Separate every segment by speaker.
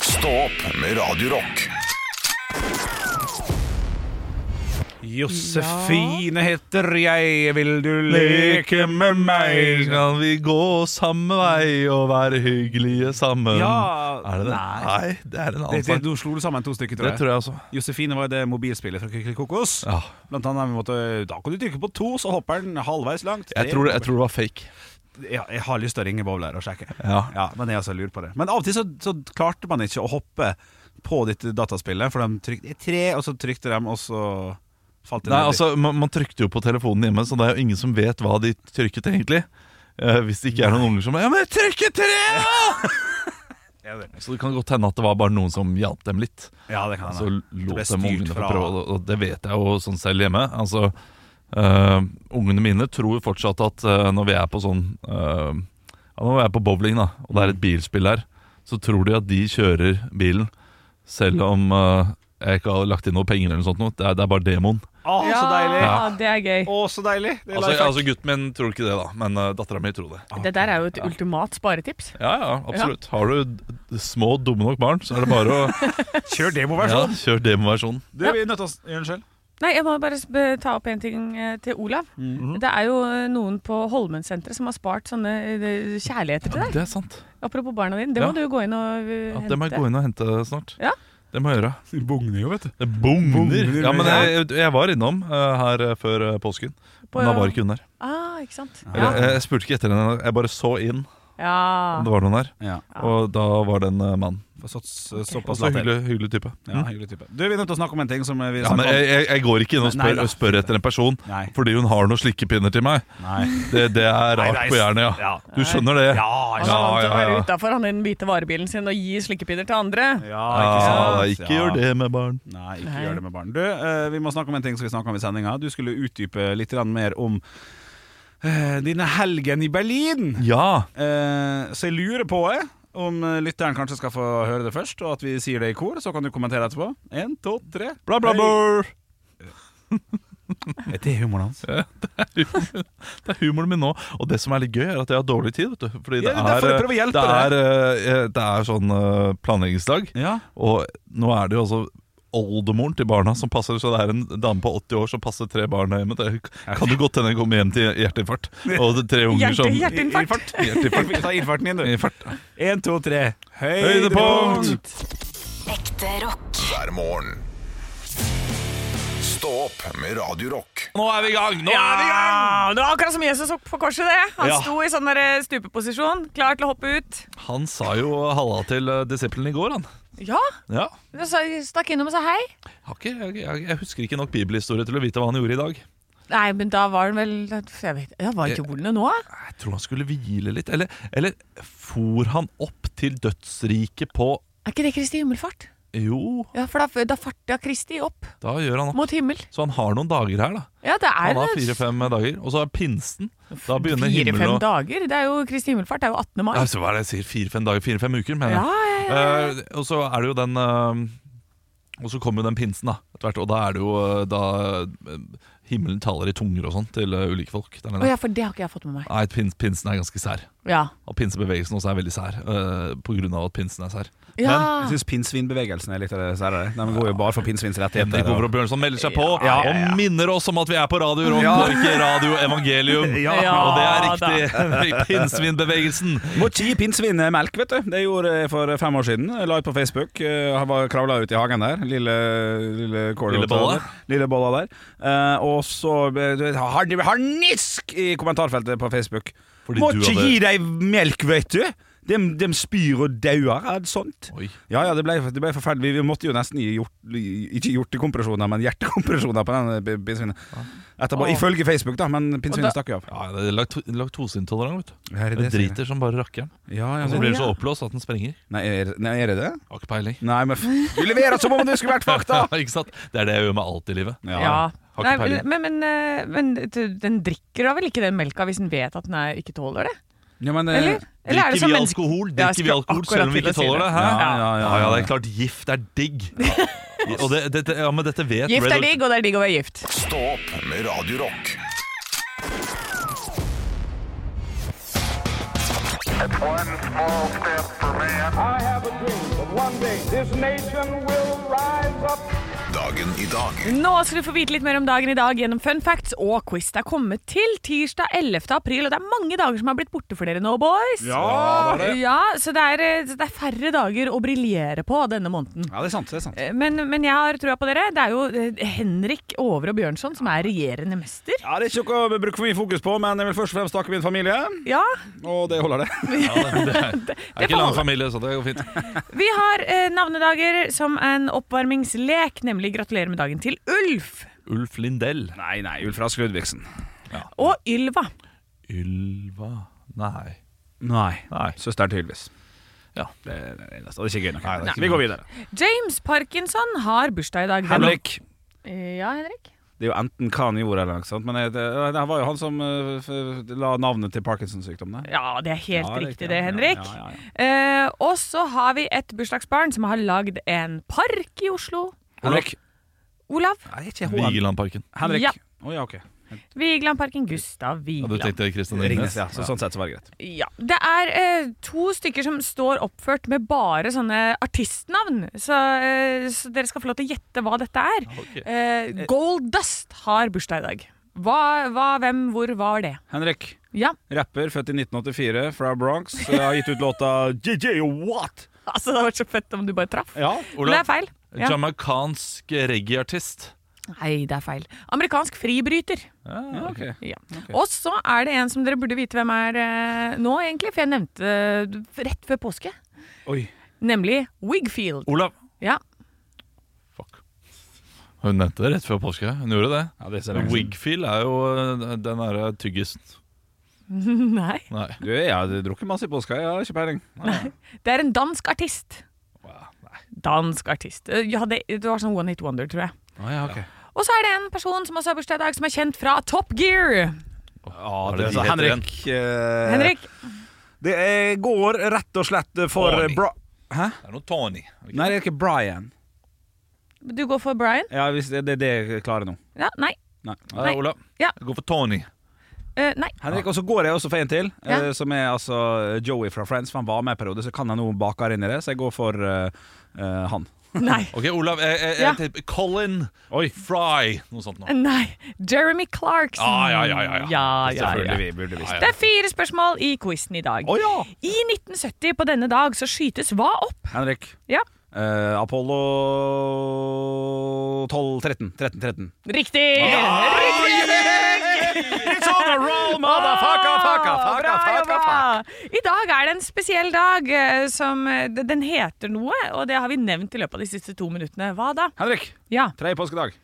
Speaker 1: Stå opp med Radio Rock.
Speaker 2: Josefine heter jeg, vil du leke med meg?
Speaker 3: Skal vi gå samme vei og være hyggelige sammen?
Speaker 2: Ja,
Speaker 3: er det det?
Speaker 2: nei.
Speaker 3: det er en
Speaker 2: Det,
Speaker 3: annen
Speaker 2: det,
Speaker 3: sang.
Speaker 2: du slo det sammen to stykker, tror
Speaker 3: Det
Speaker 2: jeg.
Speaker 3: tror jeg også.
Speaker 2: Josefine var det mobilspillet fra Kykeli Kokos.
Speaker 3: Ja.
Speaker 2: Blant annet, vi måtte, da kan du trykke på to, så hopper den halvveis langt.
Speaker 3: Jeg, tror det, jeg tror det var fake.
Speaker 2: Ja, jeg har lyst til å ringe Bowler og sjekke.
Speaker 3: Ja.
Speaker 2: men jeg altså lurer på det. Men av og til så, så klarte man ikke å hoppe på dette dataspillet, for de trykte tre, og så trykte de, og så falt det
Speaker 3: Nei,
Speaker 2: ned.
Speaker 3: altså, man, man trykte jo på telefonen hjemme, så det er jo ingen som vet hva de trykket egentlig. Eh, hvis det ikke er noen unger som Ja, men trykk tre! da!»
Speaker 2: Ja, det-
Speaker 3: Så det kan godt hende at det var bare noen som hjalp dem litt.
Speaker 2: Ja, det kan
Speaker 3: Så
Speaker 2: hende. Det ble
Speaker 3: lot dem
Speaker 2: styrt
Speaker 3: ungene få
Speaker 2: fra-
Speaker 3: prøve, og- og det vet jeg jo sånn selv hjemme. Altså, øh, Ungene mine tror fortsatt at øh, når vi er på sånn øh, ja, Når vi er på bowling, da, og det er et bilspill her, så tror de at de kjører bilen selv om øh, jeg ikke har lagt inn noe penger eller noe sånt. Noe. Det, er, det er bare demoen.
Speaker 2: Å, så deilig!
Speaker 3: Ja.
Speaker 4: det er gøy.
Speaker 2: Å, så deilig! Det er
Speaker 3: Altså,
Speaker 2: lifehack.
Speaker 3: altså gutten min tror ikke det, da, men uh, dattera mi tror det.
Speaker 4: Det der er jo et ultimat sparetips.
Speaker 3: Ja, ja, absolutt. Har du d- d- små, dumme nok barn, så er det bare å
Speaker 2: Kjør
Speaker 3: ja,
Speaker 2: demoversjon!
Speaker 3: kjøre altså, demoversjonen.
Speaker 2: Du, vi er nødt til å s- Unnskyld.
Speaker 4: Nei, jeg må bare sp- ta opp en ting eh, til Olav.
Speaker 2: Mm.
Speaker 4: Det er jo eh, noen på Holmensenteret som har spart sånne eh, kjærligheter til deg.
Speaker 3: Det er sant.
Speaker 4: Apropos barna dine. Det
Speaker 3: Ja.
Speaker 4: må du jo gå inn og eh,
Speaker 3: Ja,
Speaker 4: hente.
Speaker 3: det må jeg gå inn og hente snart.
Speaker 4: Ja.
Speaker 3: Det må jeg gjøre.
Speaker 2: Det bugner jo, vet du.
Speaker 3: Det bugner.
Speaker 2: Bugner,
Speaker 3: Ja, men
Speaker 2: ja.
Speaker 3: jeg, jeg var innom eh, her eh, før eh, påsken.
Speaker 4: På-
Speaker 3: Men da var ikke hun der.
Speaker 4: Ah, ikke sant.
Speaker 3: Eller,
Speaker 4: Ja.
Speaker 3: Jeg, jeg spurte ikke etter henne. Jeg bare så inn om
Speaker 4: ja.
Speaker 3: det var noen der.
Speaker 2: Ja.
Speaker 4: Ja.
Speaker 3: Og da var det en eh, mann.
Speaker 2: Så, så, såpass
Speaker 3: Også
Speaker 2: latt til.
Speaker 3: hyggelig, hyggelig type.
Speaker 2: Ja, hyggelig type. Mm. Du, vi er nødt til å snakke om en ting som vi
Speaker 3: Ja, men
Speaker 2: snakket
Speaker 3: eh, jeg,
Speaker 2: om.
Speaker 3: jeg, jeg går ikke inn og
Speaker 2: Nei,
Speaker 3: spør,
Speaker 2: da.
Speaker 3: spør etter en person
Speaker 2: Nei.
Speaker 3: fordi hun har noen slikkepinner til meg.
Speaker 2: Nei.
Speaker 3: Det, det er
Speaker 2: Nei,
Speaker 3: rart
Speaker 2: nei,
Speaker 3: på jernet, ja.
Speaker 2: ja.
Speaker 3: Du skjønner det?
Speaker 2: Ja,
Speaker 4: Han
Speaker 2: ja,
Speaker 4: er vant til å
Speaker 3: ja,
Speaker 4: være
Speaker 3: ja.
Speaker 4: utafor han i den hvite varebilen sin og gi slikkepinner til andre.
Speaker 2: ja,
Speaker 3: Ja,
Speaker 2: ikke sant?
Speaker 3: Ah, ikke gjør det med barn.
Speaker 2: Nei, ikke
Speaker 4: Nei.
Speaker 2: gjør det med barn. Du, eh, vi må snakke om en ting som vi snakka om i sendinga. Du skulle utdype litt grann mer om eh, dine helgen i Berlin.
Speaker 3: Ja,
Speaker 2: Eh, så jeg lurer på eh, om eh, lytteren kanskje skal få høre det først, og at vi sier det i kor. Så kan du kommentere etterpå. En, to, tre.
Speaker 3: bla, bla, bla.
Speaker 2: Hei. Det er humoren hans.
Speaker 3: Det er humoren min nå. Og det som er litt gøy, er at jeg har dårlig tid. Vet du. Fordi det,
Speaker 2: Ja, det er derfor jeg
Speaker 3: er,
Speaker 2: prøver å hjelpe
Speaker 3: det, er, eh, det er sånn eh, planleggingsdag,
Speaker 2: Ja.
Speaker 3: og nå er det jo altså Oldemoren til barna som passer Så det er en dame på 80 år som passer tre barn hjemme. Det kan jo godt hende jeg kommer hjem til hjerteinfarkt. Og det er tre unger som
Speaker 4: Hjerte, hjerteinfarkt.
Speaker 3: Hjerteinfarkt.
Speaker 2: Ta innfarten din, du.
Speaker 3: Infarkt.
Speaker 2: En, to, tre.
Speaker 3: Høydepunkt!
Speaker 5: Ekte rock.
Speaker 1: hver morgen. Stå opp med Radio Rock.
Speaker 3: Nå er vi i gang! Nå er vi i gang!
Speaker 4: Ja, det var akkurat som Jesus opp på korset, det. Han
Speaker 3: Ja.
Speaker 4: sto i sånn der eh, stupeposisjon, klar til å hoppe ut.
Speaker 3: Han sa jo halla til eh, disiplen i går, han.
Speaker 4: Ja,
Speaker 3: Ja.
Speaker 4: og så stakk innom og sa hei.
Speaker 3: Har ikke, jeg, jeg, jeg husker ikke nok bibelhistorie til å vite hva han gjorde i dag.
Speaker 4: Nei, men da var den vel jeg vet, ja, Hva
Speaker 3: Eh.
Speaker 4: gjorde han nå?
Speaker 3: Jeg tror han skulle hvile litt. Eller, eller for han opp til dødsriket på
Speaker 4: Er ikke det Kristi himmelfart?
Speaker 3: Jo,
Speaker 4: Ja, for da, da farta Kristi opp
Speaker 3: da gjør han opp.
Speaker 4: mot himmel.
Speaker 3: Så han har noen dager her, da.
Speaker 4: Ja, det er
Speaker 3: Han har fire-fem dager. Og så er pinsen. Da begynner
Speaker 4: fire-fem
Speaker 3: himmelen å
Speaker 4: dager. Det er jo Kristi himmelfart. Det er jo 18. mai.
Speaker 3: Ja, så Hva er det jeg sier? Fire-fem dager? Fire-fem uker, mener
Speaker 4: Ja,
Speaker 3: jeg.
Speaker 4: ja, ja.
Speaker 3: Eh, og så er det jo den eh, Og så kommer jo den pinsen, da. Etter hvert. Og da er det jo eh, da eh, himmelen taler i tunger og sånn til eh, ulike folk. Der
Speaker 4: Å
Speaker 3: nede.
Speaker 4: ja, for det har ikke jeg fått med meg.
Speaker 3: Nei, pins, pinsen er ganske sær.
Speaker 4: Ja.
Speaker 3: Og pinsebevegelsen også er veldig sær. eh, på grunn av at pinsen er sær.
Speaker 4: ja.
Speaker 2: Jeg syns pinnsvinbevegelsen er litt av det særere. De går jo bare for pinnsvins
Speaker 3: Henrik Over
Speaker 2: rettigheter.
Speaker 3: og Bjørnson melder seg på
Speaker 2: Ja, ja, ja.
Speaker 3: og minner oss om at vi er på Radio Rock
Speaker 2: Ja.
Speaker 3: og ikke Radio Evangelium.
Speaker 2: Ja.
Speaker 3: Og det er riktig. Henrik Pinnsvinbevegelsen.
Speaker 2: Må ikke gi pinnsvin melk, vet du. Det gjorde jeg for fem år siden. Jeg La ut på Facebook. Eh, Han var kravla ut i hagen der. Lille Lille, kål-
Speaker 3: Lille bolla.
Speaker 2: Lille bolla der. Eh, og så ble det hard- harnisk i kommentarfeltet på Facebook.
Speaker 3: Fordi
Speaker 2: Må
Speaker 3: du
Speaker 2: ikke
Speaker 3: hadde-
Speaker 2: gi dem melk, vet du! De, spyr og dauer av sånt.
Speaker 3: Oi.
Speaker 2: Ja, ja, det ble, det ble forferdelig. Vi, vi måtte jo nesten gi hjort, ikke hjortekompresjoner, men hjertekompresjoner på den pinnsvinen. Etterpå,
Speaker 4: Åh.
Speaker 2: Ifølge Facebook, da, men
Speaker 4: Og da-
Speaker 2: pinnsvinet stakk jo av.
Speaker 3: Ja, det er lakt laktoseintolerant, vet du.
Speaker 2: Ja, er det
Speaker 3: Den
Speaker 2: det, sier jeg?
Speaker 3: driter som bare rakkeren.
Speaker 2: Ja, ja,
Speaker 3: Og
Speaker 2: det-
Speaker 3: så blir den så oppblåst at den sprenger.
Speaker 2: Nei, er, nei, er det det?
Speaker 3: Har ikke peiling.
Speaker 2: Nei, men f- du leverer som om det skulle vært fakta!
Speaker 3: ikke sant? Det er det jeg gjør med alt i livet.
Speaker 4: ja.
Speaker 3: Har
Speaker 4: Nei,
Speaker 3: ikke peiling.
Speaker 4: men, men, eh, men du, den drikker da vel ikke den melka hvis den vet at den er, ikke tåler det?
Speaker 2: Ja, men, eh,
Speaker 4: Eller? Eller er
Speaker 3: Drikker
Speaker 4: det som
Speaker 3: vi
Speaker 4: menneske-
Speaker 3: alkohol,
Speaker 4: Ja, jeg
Speaker 3: drikker vi
Speaker 4: skulle
Speaker 3: alkohol
Speaker 4: akkurat
Speaker 3: selv om vi
Speaker 4: til å
Speaker 3: ikke
Speaker 4: si
Speaker 3: tåler det?
Speaker 2: ja,
Speaker 3: Hæ?
Speaker 2: ja, ja,
Speaker 3: Ja, ja, det er klart. Gift er digg. Og det, dette- ja, men dette vet
Speaker 4: Gift
Speaker 3: Red
Speaker 4: er
Speaker 3: Hot-
Speaker 4: digg, og det er digg å være gift.
Speaker 1: Stå opp med Radio Rock.
Speaker 6: It's one small step for man.
Speaker 7: I have a dream that one day this nation will rise up.
Speaker 1: Dagen i dag
Speaker 4: Nå skal du få vite litt mer om dagen i dag gjennom fun facts og quiz. Det er kommet til tirsdag 11. april, og det er mange dager som har blitt borte for dere nå, boys.
Speaker 2: Ja, det er det.
Speaker 4: Ja, så det er, eh, det er færre dager å briljere på denne måneden.
Speaker 2: Ja, det er sant. det er sant
Speaker 4: Eh, Men, men jeg har trua på dere. Det er jo eh, Henrik Over og Bjørnson som er regjerende mester.
Speaker 2: Ja, Det er ikke noe å bruke for mye fokus på, men jeg vil først og fremst takke min familie.
Speaker 4: Ja,
Speaker 2: Og det holder, det.
Speaker 3: det er, det er ikke lang familie, så det går fint.
Speaker 4: Vi har eh, navnedager som en oppvarmingslek, nemlig gratulerer med dagen til Ulf
Speaker 3: Ulf Lindell.
Speaker 2: Nei, nei, Ulf Rask Ludvigsen.
Speaker 4: og Ylva.
Speaker 3: Ylva Nei.
Speaker 2: Nei.
Speaker 3: Nei.
Speaker 2: Søsteren til Ylvis.
Speaker 3: Ja.
Speaker 2: Det er det eneste. Og det er ikke gøy nok.
Speaker 3: Nei, det er ikke
Speaker 2: Vi
Speaker 3: gøy.
Speaker 2: går videre.
Speaker 4: James Parkinson har bursdag i dag.
Speaker 2: Henrik.
Speaker 4: Eh, Ja, Henrik.
Speaker 2: Det er jo enten hva han gjorde eller noe sånt, men det, det her var jo han som eh, f- la navnet til Parkinson-sykdommen.
Speaker 4: Ja, det er helt
Speaker 2: Ja, det er
Speaker 4: riktig
Speaker 2: riktig,
Speaker 4: det,
Speaker 2: ja,
Speaker 4: Henrik.
Speaker 2: ja, ja,
Speaker 4: Eh, og så har vi et bursdagsbarn som har lagd en park i Oslo.
Speaker 2: Henrik.
Speaker 4: Olav
Speaker 2: Nei, ikke Henrik.
Speaker 3: Vigelandparken.
Speaker 2: Henrik.
Speaker 4: Ja.
Speaker 2: Å ja, ok.
Speaker 4: Vigelandparken. Gustav
Speaker 3: Ja, du
Speaker 4: Vigeland.
Speaker 3: tenkte Kristian
Speaker 2: Ringnes,
Speaker 3: Ringnes?
Speaker 2: ja. Så, sånn sett så var det greit.
Speaker 4: Ja, det er eh, to stykker som står oppført med bare sånne artistnavn. Så, eh, så dere skal få lov til å gjette hva dette er.
Speaker 3: Ok.
Speaker 4: Eh, Gold Dust har bursdag i dag. Hva, hva, hvem, hvor, var det?
Speaker 2: Henrik.
Speaker 4: Ja,
Speaker 2: Rapper, født i 1984, fra Bronx. eh, Har gitt ut låta JJ What?
Speaker 4: altså Det hadde vært så fett om du bare traff.
Speaker 2: Ja.
Speaker 4: Men det
Speaker 3: Eh, Olav,
Speaker 4: er feil. Ja.
Speaker 3: jamaicansk reggaeartist.
Speaker 4: Nei, det er feil. Amerikansk fribryter.
Speaker 2: ja ok.
Speaker 4: Ja. Og så er det en som dere burde vite hvem er eh, nå, egentlig, for jeg nevnte det rett før påske.
Speaker 2: Oi.
Speaker 4: Nemlig Wigfield.
Speaker 3: Olav.
Speaker 4: Ja.
Speaker 3: Fuck. Hun nevnte det rett før påske. Hun gjorde det.
Speaker 2: Ja, det ser jeg.
Speaker 3: Wigfield er jo eh, den derre tyggisen.
Speaker 4: Nei.
Speaker 3: Nei.
Speaker 2: Du, jeg har drukket masse i påska, jeg har ikke peiling.
Speaker 4: Det er en dansk artist.
Speaker 3: Wow, nei.
Speaker 4: Dansk artist. Eh, Ja, det, det var sånn one hit wonder, tror jeg.
Speaker 2: Oh, ja, ok.
Speaker 4: Og så er det en person som også har bursdag i dag, som er kjent fra Top Gear.
Speaker 2: Ja,
Speaker 3: Hva er
Speaker 2: det,
Speaker 3: de
Speaker 2: altså,
Speaker 3: heter igjen?
Speaker 2: Henrik, eh,
Speaker 4: Henrik.
Speaker 2: Det er, går rett og slett for eh,
Speaker 3: Arnie.
Speaker 2: bra... Hæ?
Speaker 3: Det er noe Tony. er det ikke?
Speaker 2: Nei, det er ikke Brian.
Speaker 4: Du går for Brian?
Speaker 2: Ja, hvis det, det er det jeg klarer nå.
Speaker 4: Ja, nei.
Speaker 2: Nei.
Speaker 3: Nei,
Speaker 4: Nei.
Speaker 3: Olav.
Speaker 4: Ja.
Speaker 3: Jeg går for Tony.
Speaker 4: Eh, nei.
Speaker 2: Henrik, og så går jeg også for en til,
Speaker 4: Ja.
Speaker 2: eh, som er altså Joey fra Friends. For han var med i periode, så kan jeg nå bake her inn i det, så jeg går for eh, eh, han.
Speaker 4: nei.
Speaker 3: Ok, Olav. Jeg, jeg, jeg
Speaker 4: Ja.
Speaker 3: tipper Colin Fry. Noe sånt nå.
Speaker 4: Nei. Jeremy Clarkson.
Speaker 3: Ja, ja, ja, ja, ja.
Speaker 4: Ja, ja, ja.
Speaker 2: Selvfølgelig, vi burde visst
Speaker 4: Det er fire spørsmål i quizen i dag.
Speaker 2: Å ja!
Speaker 4: I 1970 på denne dag så skytes hva opp?
Speaker 2: Henrik.
Speaker 4: Ja,
Speaker 2: eh, Apollo 12 13. 13, 13.
Speaker 4: Riktig!
Speaker 2: It's on a roll, motherfucker! Fucker, fucker,
Speaker 4: Bra
Speaker 2: fucker,
Speaker 4: jobba!
Speaker 2: fucker.
Speaker 4: I dag er det en spesiell dag eh, som eh, Den heter noe, og det har vi nevnt i løpet av de siste to minuttene. Hva da?
Speaker 2: Henrik.
Speaker 4: Ja,
Speaker 2: Tredje påskedag.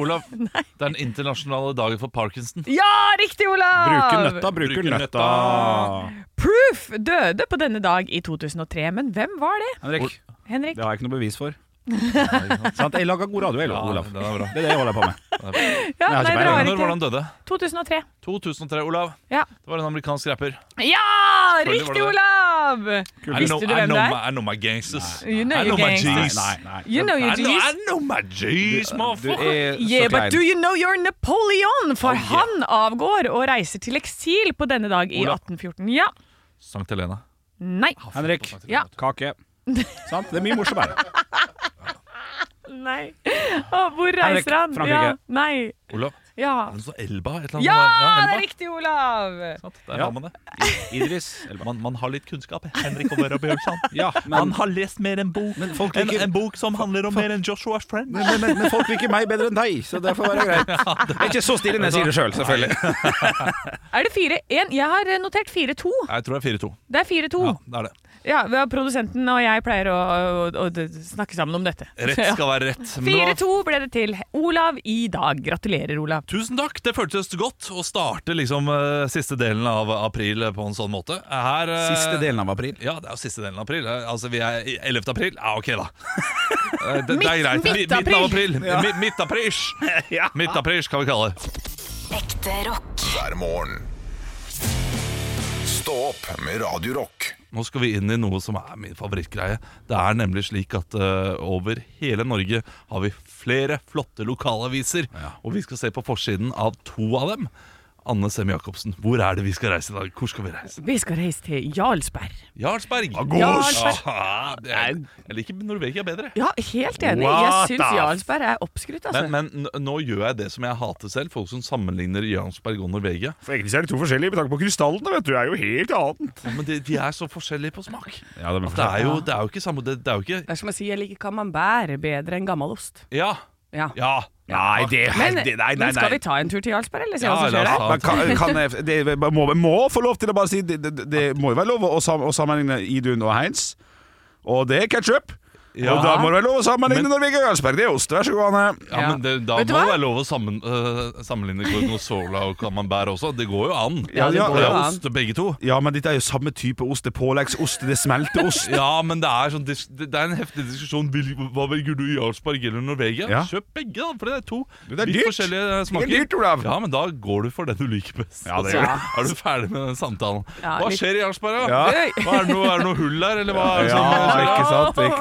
Speaker 3: Olav. Det er den internasjonale dagen for Parkinson.
Speaker 4: ja riktig, Olav!
Speaker 3: bruker
Speaker 4: Proof døde på denne dag i 2003, men hvem var det?
Speaker 2: Henrik,
Speaker 4: Henrik?
Speaker 2: det har jeg ikke noe bevis for. Sant? Jeg lager god radio, jeg,
Speaker 3: Ja,
Speaker 2: Olav.
Speaker 3: den er bra.
Speaker 2: Det er det jeg holder på med.
Speaker 4: Ja,
Speaker 2: har ikke
Speaker 4: nei, altså, dere
Speaker 2: peiling.
Speaker 4: har
Speaker 3: Når var
Speaker 4: ikke
Speaker 3: han døde?
Speaker 4: 2003.
Speaker 3: 2003, Olav.
Speaker 4: Ja,
Speaker 3: Det var en amerikansk rapper.
Speaker 4: ja riktig,
Speaker 3: var
Speaker 4: Olav!
Speaker 3: I
Speaker 4: Visste
Speaker 3: know-
Speaker 4: du
Speaker 3: I
Speaker 4: hvem
Speaker 3: know
Speaker 4: det er?
Speaker 3: my- I know my gangsters.
Speaker 4: You know
Speaker 3: I
Speaker 4: your
Speaker 3: know my
Speaker 4: gangsters.
Speaker 3: G's.
Speaker 2: Nei, nei, nei.
Speaker 4: You know your
Speaker 3: I know, I
Speaker 4: G's.
Speaker 3: know my G's,
Speaker 2: Du
Speaker 3: motherfucker.
Speaker 2: er
Speaker 4: Yeah,
Speaker 2: så
Speaker 4: but
Speaker 2: klein.
Speaker 4: do you know you're Napoleon? For
Speaker 3: Eh, Oh, yeah.
Speaker 4: han avgår og reiser til eksil på denne dag i
Speaker 3: Ola.
Speaker 4: 1814. Ja.
Speaker 3: Sankt Helena.
Speaker 4: Nei.
Speaker 2: Henrik,
Speaker 4: Ja.
Speaker 2: kake. Sant? Det er mye morsommere.
Speaker 4: Nei. Å, hvor
Speaker 2: Henrik,
Speaker 4: reiser han?
Speaker 2: Frankrike.
Speaker 4: Ja. Nei.
Speaker 3: Olav.
Speaker 4: Ja.
Speaker 3: Er det noe sånn Elba? Et eller annet?
Speaker 4: Ja, Ah, det
Speaker 3: Elba.
Speaker 4: er riktig, Olav!
Speaker 3: Sant? Der
Speaker 2: Ja.
Speaker 3: har man det.
Speaker 2: Idris.
Speaker 3: Man, man har litt kunnskap. Henrik Over og Bjørnson.
Speaker 2: Ja,
Speaker 3: Han
Speaker 2: men,
Speaker 3: har lest mer enn bok.
Speaker 2: men folk
Speaker 3: En,
Speaker 2: liker
Speaker 3: en bok som handler om mer enn Joshua Friend.
Speaker 2: men, men, men folk liker meg bedre enn deg, så det får være greit. Jeg er ikke så stille når jeg sier det sjøl, selv, selvfølgelig.
Speaker 4: Er det 4-1? Jeg har notert 4-2.
Speaker 3: Jeg tror det er 4-2.
Speaker 4: Det er 4-2.
Speaker 3: Ja, det er det.
Speaker 4: Ja. vi har produsenten og jeg pleier å, å, å, å snakke sammen om dette.
Speaker 3: Rett skal være rett. Men det var-
Speaker 4: 4-2 ble det til Olav i dag. Gratulerer, Olav.
Speaker 3: Tusen takk. Det føltes godt å starte liksom, eh, siste delen av april eh, på en sånn måte. Her, eh,
Speaker 2: Siste delen av april.
Speaker 3: Ja, det er jo siste delen av april. Eh, Altså, vi er i 11. april. Ja, ok, da. Eh, Det, det
Speaker 4: Midt-
Speaker 3: er greit. Mi-
Speaker 4: midtapril.
Speaker 3: Midten av april. Mi- Midtaprils. Midtaprils kan vi kalle det.
Speaker 5: Ekte rock.
Speaker 1: hver morgen. Stå opp med Radio Rock.
Speaker 3: Nå skal vi inn i noe som er min favorittgreie. Det er nemlig slik at eh, over hele Norge har vi flere flotte lokalaviser, og vi skal se på forsiden av to av dem. Anne Sem Jacobsen, hvor er det vi skal reise i dag? Hvor skal vi reise?
Speaker 4: Vi skal reise til Jarlsberg.
Speaker 3: Jarlsberg!
Speaker 4: Jarlsberg.
Speaker 3: Ah, det er, jeg liker Norvegia bedre.
Speaker 4: Ja, helt enig.
Speaker 3: What
Speaker 4: Jeg
Speaker 3: the
Speaker 4: syns
Speaker 3: f-
Speaker 4: Jarlsberg er oppskrytt, altså.
Speaker 3: Men, men n- nå gjør jeg det som jeg hater selv. Folk som sammenligner Jarlsberg og Norvegia.
Speaker 8: For egentlig så er de to forskjellige med tanke på krystallene, vet du. Det er jo helt annet.
Speaker 3: Ja, Men de, de er så forskjellige på smak.
Speaker 2: Ja, det blir
Speaker 3: At det er jo, det er jo ikke samme det, det er jo ikke
Speaker 4: det er som å si jeg liker camembert bedre enn gammelost.
Speaker 3: Ja!
Speaker 4: Ja.
Speaker 3: Ja!
Speaker 8: Nei, det
Speaker 4: Men,
Speaker 8: det- nei, nei,
Speaker 4: men skal
Speaker 8: nei.
Speaker 4: vi ta en tur til Jarlsberg, eller altså
Speaker 3: Ja,
Speaker 4: se hva som
Speaker 3: la
Speaker 4: skjer
Speaker 3: oss
Speaker 4: der?
Speaker 3: ta-
Speaker 2: Men kan, kan jeg, det jeg må, jeg må få lov til å bare si Det, det, det må jo være lov å, sam, å sammenligne Idun og Heinz. Og det er ketsjup.
Speaker 3: Ja.
Speaker 2: Og da må det være lov å sammenligne
Speaker 3: Men-
Speaker 2: Norvegia og Jarlsberg. Det er ost. Vær så god, Anne.
Speaker 3: Ja, men det, Da må
Speaker 4: Vet du
Speaker 3: det
Speaker 4: hva?
Speaker 3: være lov å sammen, øh, sammenligne Gorgonzola og Camembert også. Det går jo an.
Speaker 2: Ja, det
Speaker 3: det
Speaker 2: går
Speaker 3: er
Speaker 2: jo
Speaker 4: an.
Speaker 3: ost begge to.
Speaker 2: Ja, men dette er jo samme type ost. Det er påleggsost, det er smelteost.
Speaker 3: Ja, men det er, sånn, dis- det det er en heftig diskusjon. Vil- Hva velger du, Jarlsberg eller Norvegia?
Speaker 2: Ja.
Speaker 3: Kjøp begge, da, for det er to
Speaker 2: Det er
Speaker 3: vidt
Speaker 2: dyrt.
Speaker 3: forskjellige eh,
Speaker 2: Det
Speaker 3: smaker.
Speaker 2: er dyrt, Olav.
Speaker 3: Ja, men da går du for den du liker best.
Speaker 2: Ja, det
Speaker 3: Og så
Speaker 2: gjør
Speaker 3: Er du ferdig med den samtalen?
Speaker 4: Ja,
Speaker 3: hva
Speaker 4: litt-
Speaker 3: skjer i Jarlsberg, da?
Speaker 2: Ja.
Speaker 4: Øy.
Speaker 3: Hva er, det noe, er det noe hull der, eller hva? er det
Speaker 2: Ja,
Speaker 3: som-
Speaker 2: ikke sant, ikke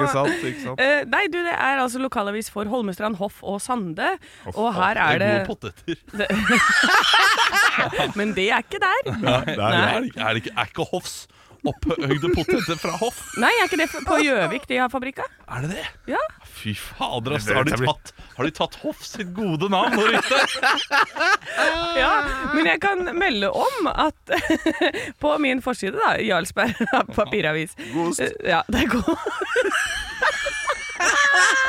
Speaker 2: sant, ikke sant.
Speaker 4: Eh, nei, du, det er altså lokalavis for Holmestrand, Hoff og Sande. og her
Speaker 3: Det
Speaker 4: er det
Speaker 3: gode poteter.
Speaker 4: Men det er ikke der.
Speaker 3: Nei, Er, det, ikke- er det ikke er ikke Hoffs opphøyde poteter fra Hoff?
Speaker 4: Nei, er ikke det på Gjøvik de har fabrikka?
Speaker 3: Er det det?
Speaker 4: Ja.
Speaker 3: Fy fader, ass.
Speaker 8: Det-
Speaker 3: Har de
Speaker 8: det blir-
Speaker 3: tatt, har de tatt Hoff sitt gode navn og rykte?
Speaker 4: ja. Men jeg kan melde om at på min forside, da, Jarlsberg papiravis Gost. Ja, det er god.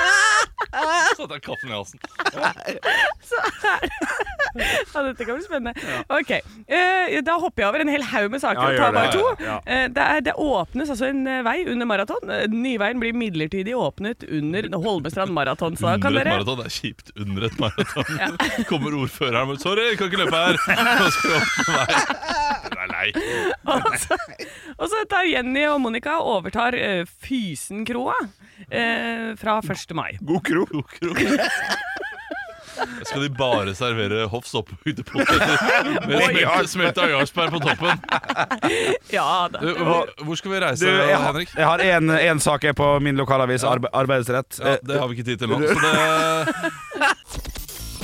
Speaker 3: Så det er kaffen i halsen.
Speaker 4: Ja, dette kan bli spennende. Ok, eh, Da hopper jeg over en hel haug med saker
Speaker 8: Ja,
Speaker 4: og tar
Speaker 8: gjør
Speaker 4: bare
Speaker 8: det.
Speaker 4: to.
Speaker 8: Ja.
Speaker 4: Eh, det, er, det åpnes altså en eh, vei under maraton. Eh, Nyveien blir midlertidig åpnet under Holmestrand maraton. Så da kan
Speaker 3: Under et
Speaker 4: dere
Speaker 3: maraton, det er kjipt. Under et maraton kommer ordføreren og 'sorry, jeg kan ikke løpe her'. Og så åpner veien. Det er lei.
Speaker 4: Og så tar Jenny og Monica og overtar eh, Fysenkroa eh, fra 1. mai.
Speaker 3: God kro. Skal de bare servere Hoffs opphøydepoteter med smelt- smelta jarlsberg på toppen?
Speaker 4: Ja da.
Speaker 3: Du, Hvor, hvor skal vi reise,
Speaker 2: Du, jeg har,
Speaker 3: Henrik?
Speaker 2: jeg har en, en sak jeg på min lokalavis, arbe, arbeidsrett.
Speaker 3: Ja, det har vi ikke tid til nå. Så det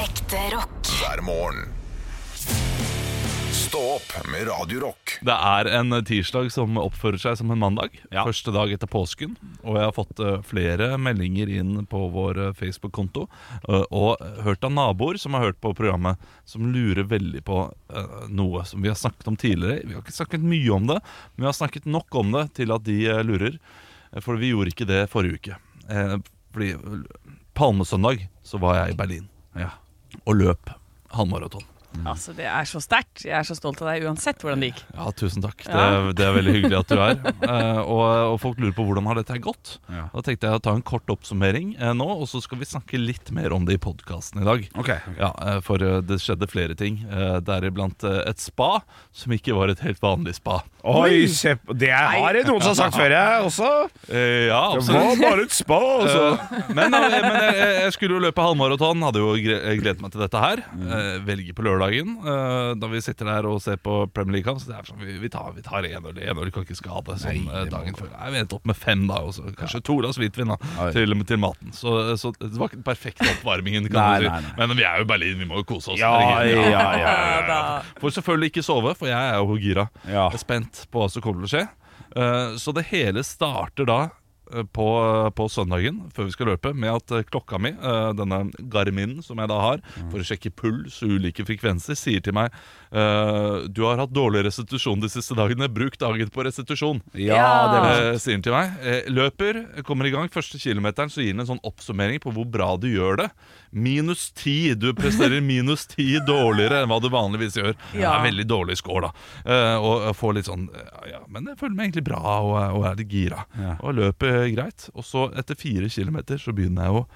Speaker 5: Ekte rock.
Speaker 1: hver morgen. Stå opp med Radio Rock.
Speaker 3: Det er en tirsdag som oppfører seg som en mandag. Første dag etter påsken. Og jeg har fått eh, flere meldinger inn på vår eh, Facebook-konto. eh, Og hørt av naboer som har hørt på programmet, som lurer veldig på eh, noe som vi har snakket om tidligere. Vi har ikke snakket mye om det, men vi har snakket nok om det til at de eh, lurer. Eh, For vi gjorde ikke det forrige uke. Eh, Fordi eh, Palmesøndag så var jeg i Berlin og løp halvmaraton.
Speaker 4: Altså, det er så sterkt. Jeg er så stolt av deg uansett hvordan det gikk.
Speaker 3: Ja, tusen takk. Det,
Speaker 4: Ja.
Speaker 3: er- det er veldig hyggelig at du er. Eh, og, og folk lurer på hvordan har dette her gått.
Speaker 2: Ja.
Speaker 3: Da tenkte jeg å ta en kort oppsummering eh, nå, og så skal vi snakke litt mer om det i podkasten i dag.
Speaker 2: Ok, ok.
Speaker 3: Ja, eh, For eh, det skjedde flere ting, eh, deriblant eh, et spa som ikke var et helt vanlig spa.
Speaker 2: Oi, se på Det har jeg noen som har sagt før, jeg også.
Speaker 3: Eh, ja,
Speaker 8: Det
Speaker 3: absolutt.
Speaker 8: var bare et spa, altså.
Speaker 3: Eh, men eh, men jeg, jeg- jeg skulle jo løpe halvmaraton. Hadde jo gre- gledet meg til dette her.
Speaker 2: Mm.
Speaker 3: Eh, Velge på lørdagen. eh, Da vi sitter der og ser på Premier League-kamp, så det er sånn, vi, vi tar, vi tar en øl. En øl kan ikke skade. Sånn eh, dagen før. Nei, vi endte opp med fem, da. Og så kanskje to glass hvitvin da, til, til maten. Så, så det var ikke den perfekte oppvarmingen, kan
Speaker 2: Nei,
Speaker 3: du si.
Speaker 2: nei, nei.
Speaker 3: Men vi er jo i Berlin, vi må jo kose oss.
Speaker 2: Ja,
Speaker 3: herregud.
Speaker 2: ja, ja, ja.
Speaker 3: Får selvfølgelig ikke sove, for jeg er jo gira.
Speaker 2: Ja.
Speaker 3: Jeg er spent på hva som kommer til å skje. Eh, Så det hele starter da eh, på, på søndagen, før vi skal løpe, med at eh, klokka mi, eh, denne Garminen som jeg da har, for å sjekke puls og ulike frekvenser, sier til meg eh, Du har hatt dårlig restitusjon de siste dagene, bruk dagen på restitusjon.
Speaker 2: Ja, det var
Speaker 3: Eh, sier han til meg. Eh, løper, kommer i gang. Første kilometeren så gir han en sånn oppsummering på hvor bra du gjør det. Minus ti. Du presterer minus ti dårligere enn hva du vanligvis gjør. Det
Speaker 4: Ja.
Speaker 3: er veldig dårlig score, da. Eh, og jeg får litt sånn eh, Ja, men jeg føler meg egentlig bra og, er- og er litt gira. Og løper eh, greit. Og så, etter fire kilometer, så begynner jeg å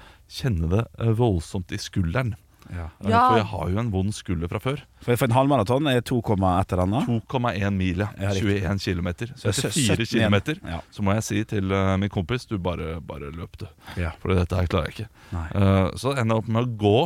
Speaker 3: kjenne det eh, voldsomt i skulderen. Eh,
Speaker 4: Ja.
Speaker 3: For jeg har jo en vond skulder fra før.
Speaker 2: For, for en halvmaraton er 2, et eller annet.
Speaker 3: 2,1 mil,
Speaker 2: Ja,
Speaker 3: ja.
Speaker 2: riktig.
Speaker 3: 21 km. Så
Speaker 2: det er
Speaker 3: etter 4
Speaker 2: 17 igjen.
Speaker 3: km
Speaker 2: Ja.
Speaker 3: så må jeg si til eh, min kompis Du bare, bare løp, du.
Speaker 2: Ja.
Speaker 3: For dette her klarer jeg ikke.
Speaker 2: Nei.
Speaker 3: Eh, så ender jeg opp med å gå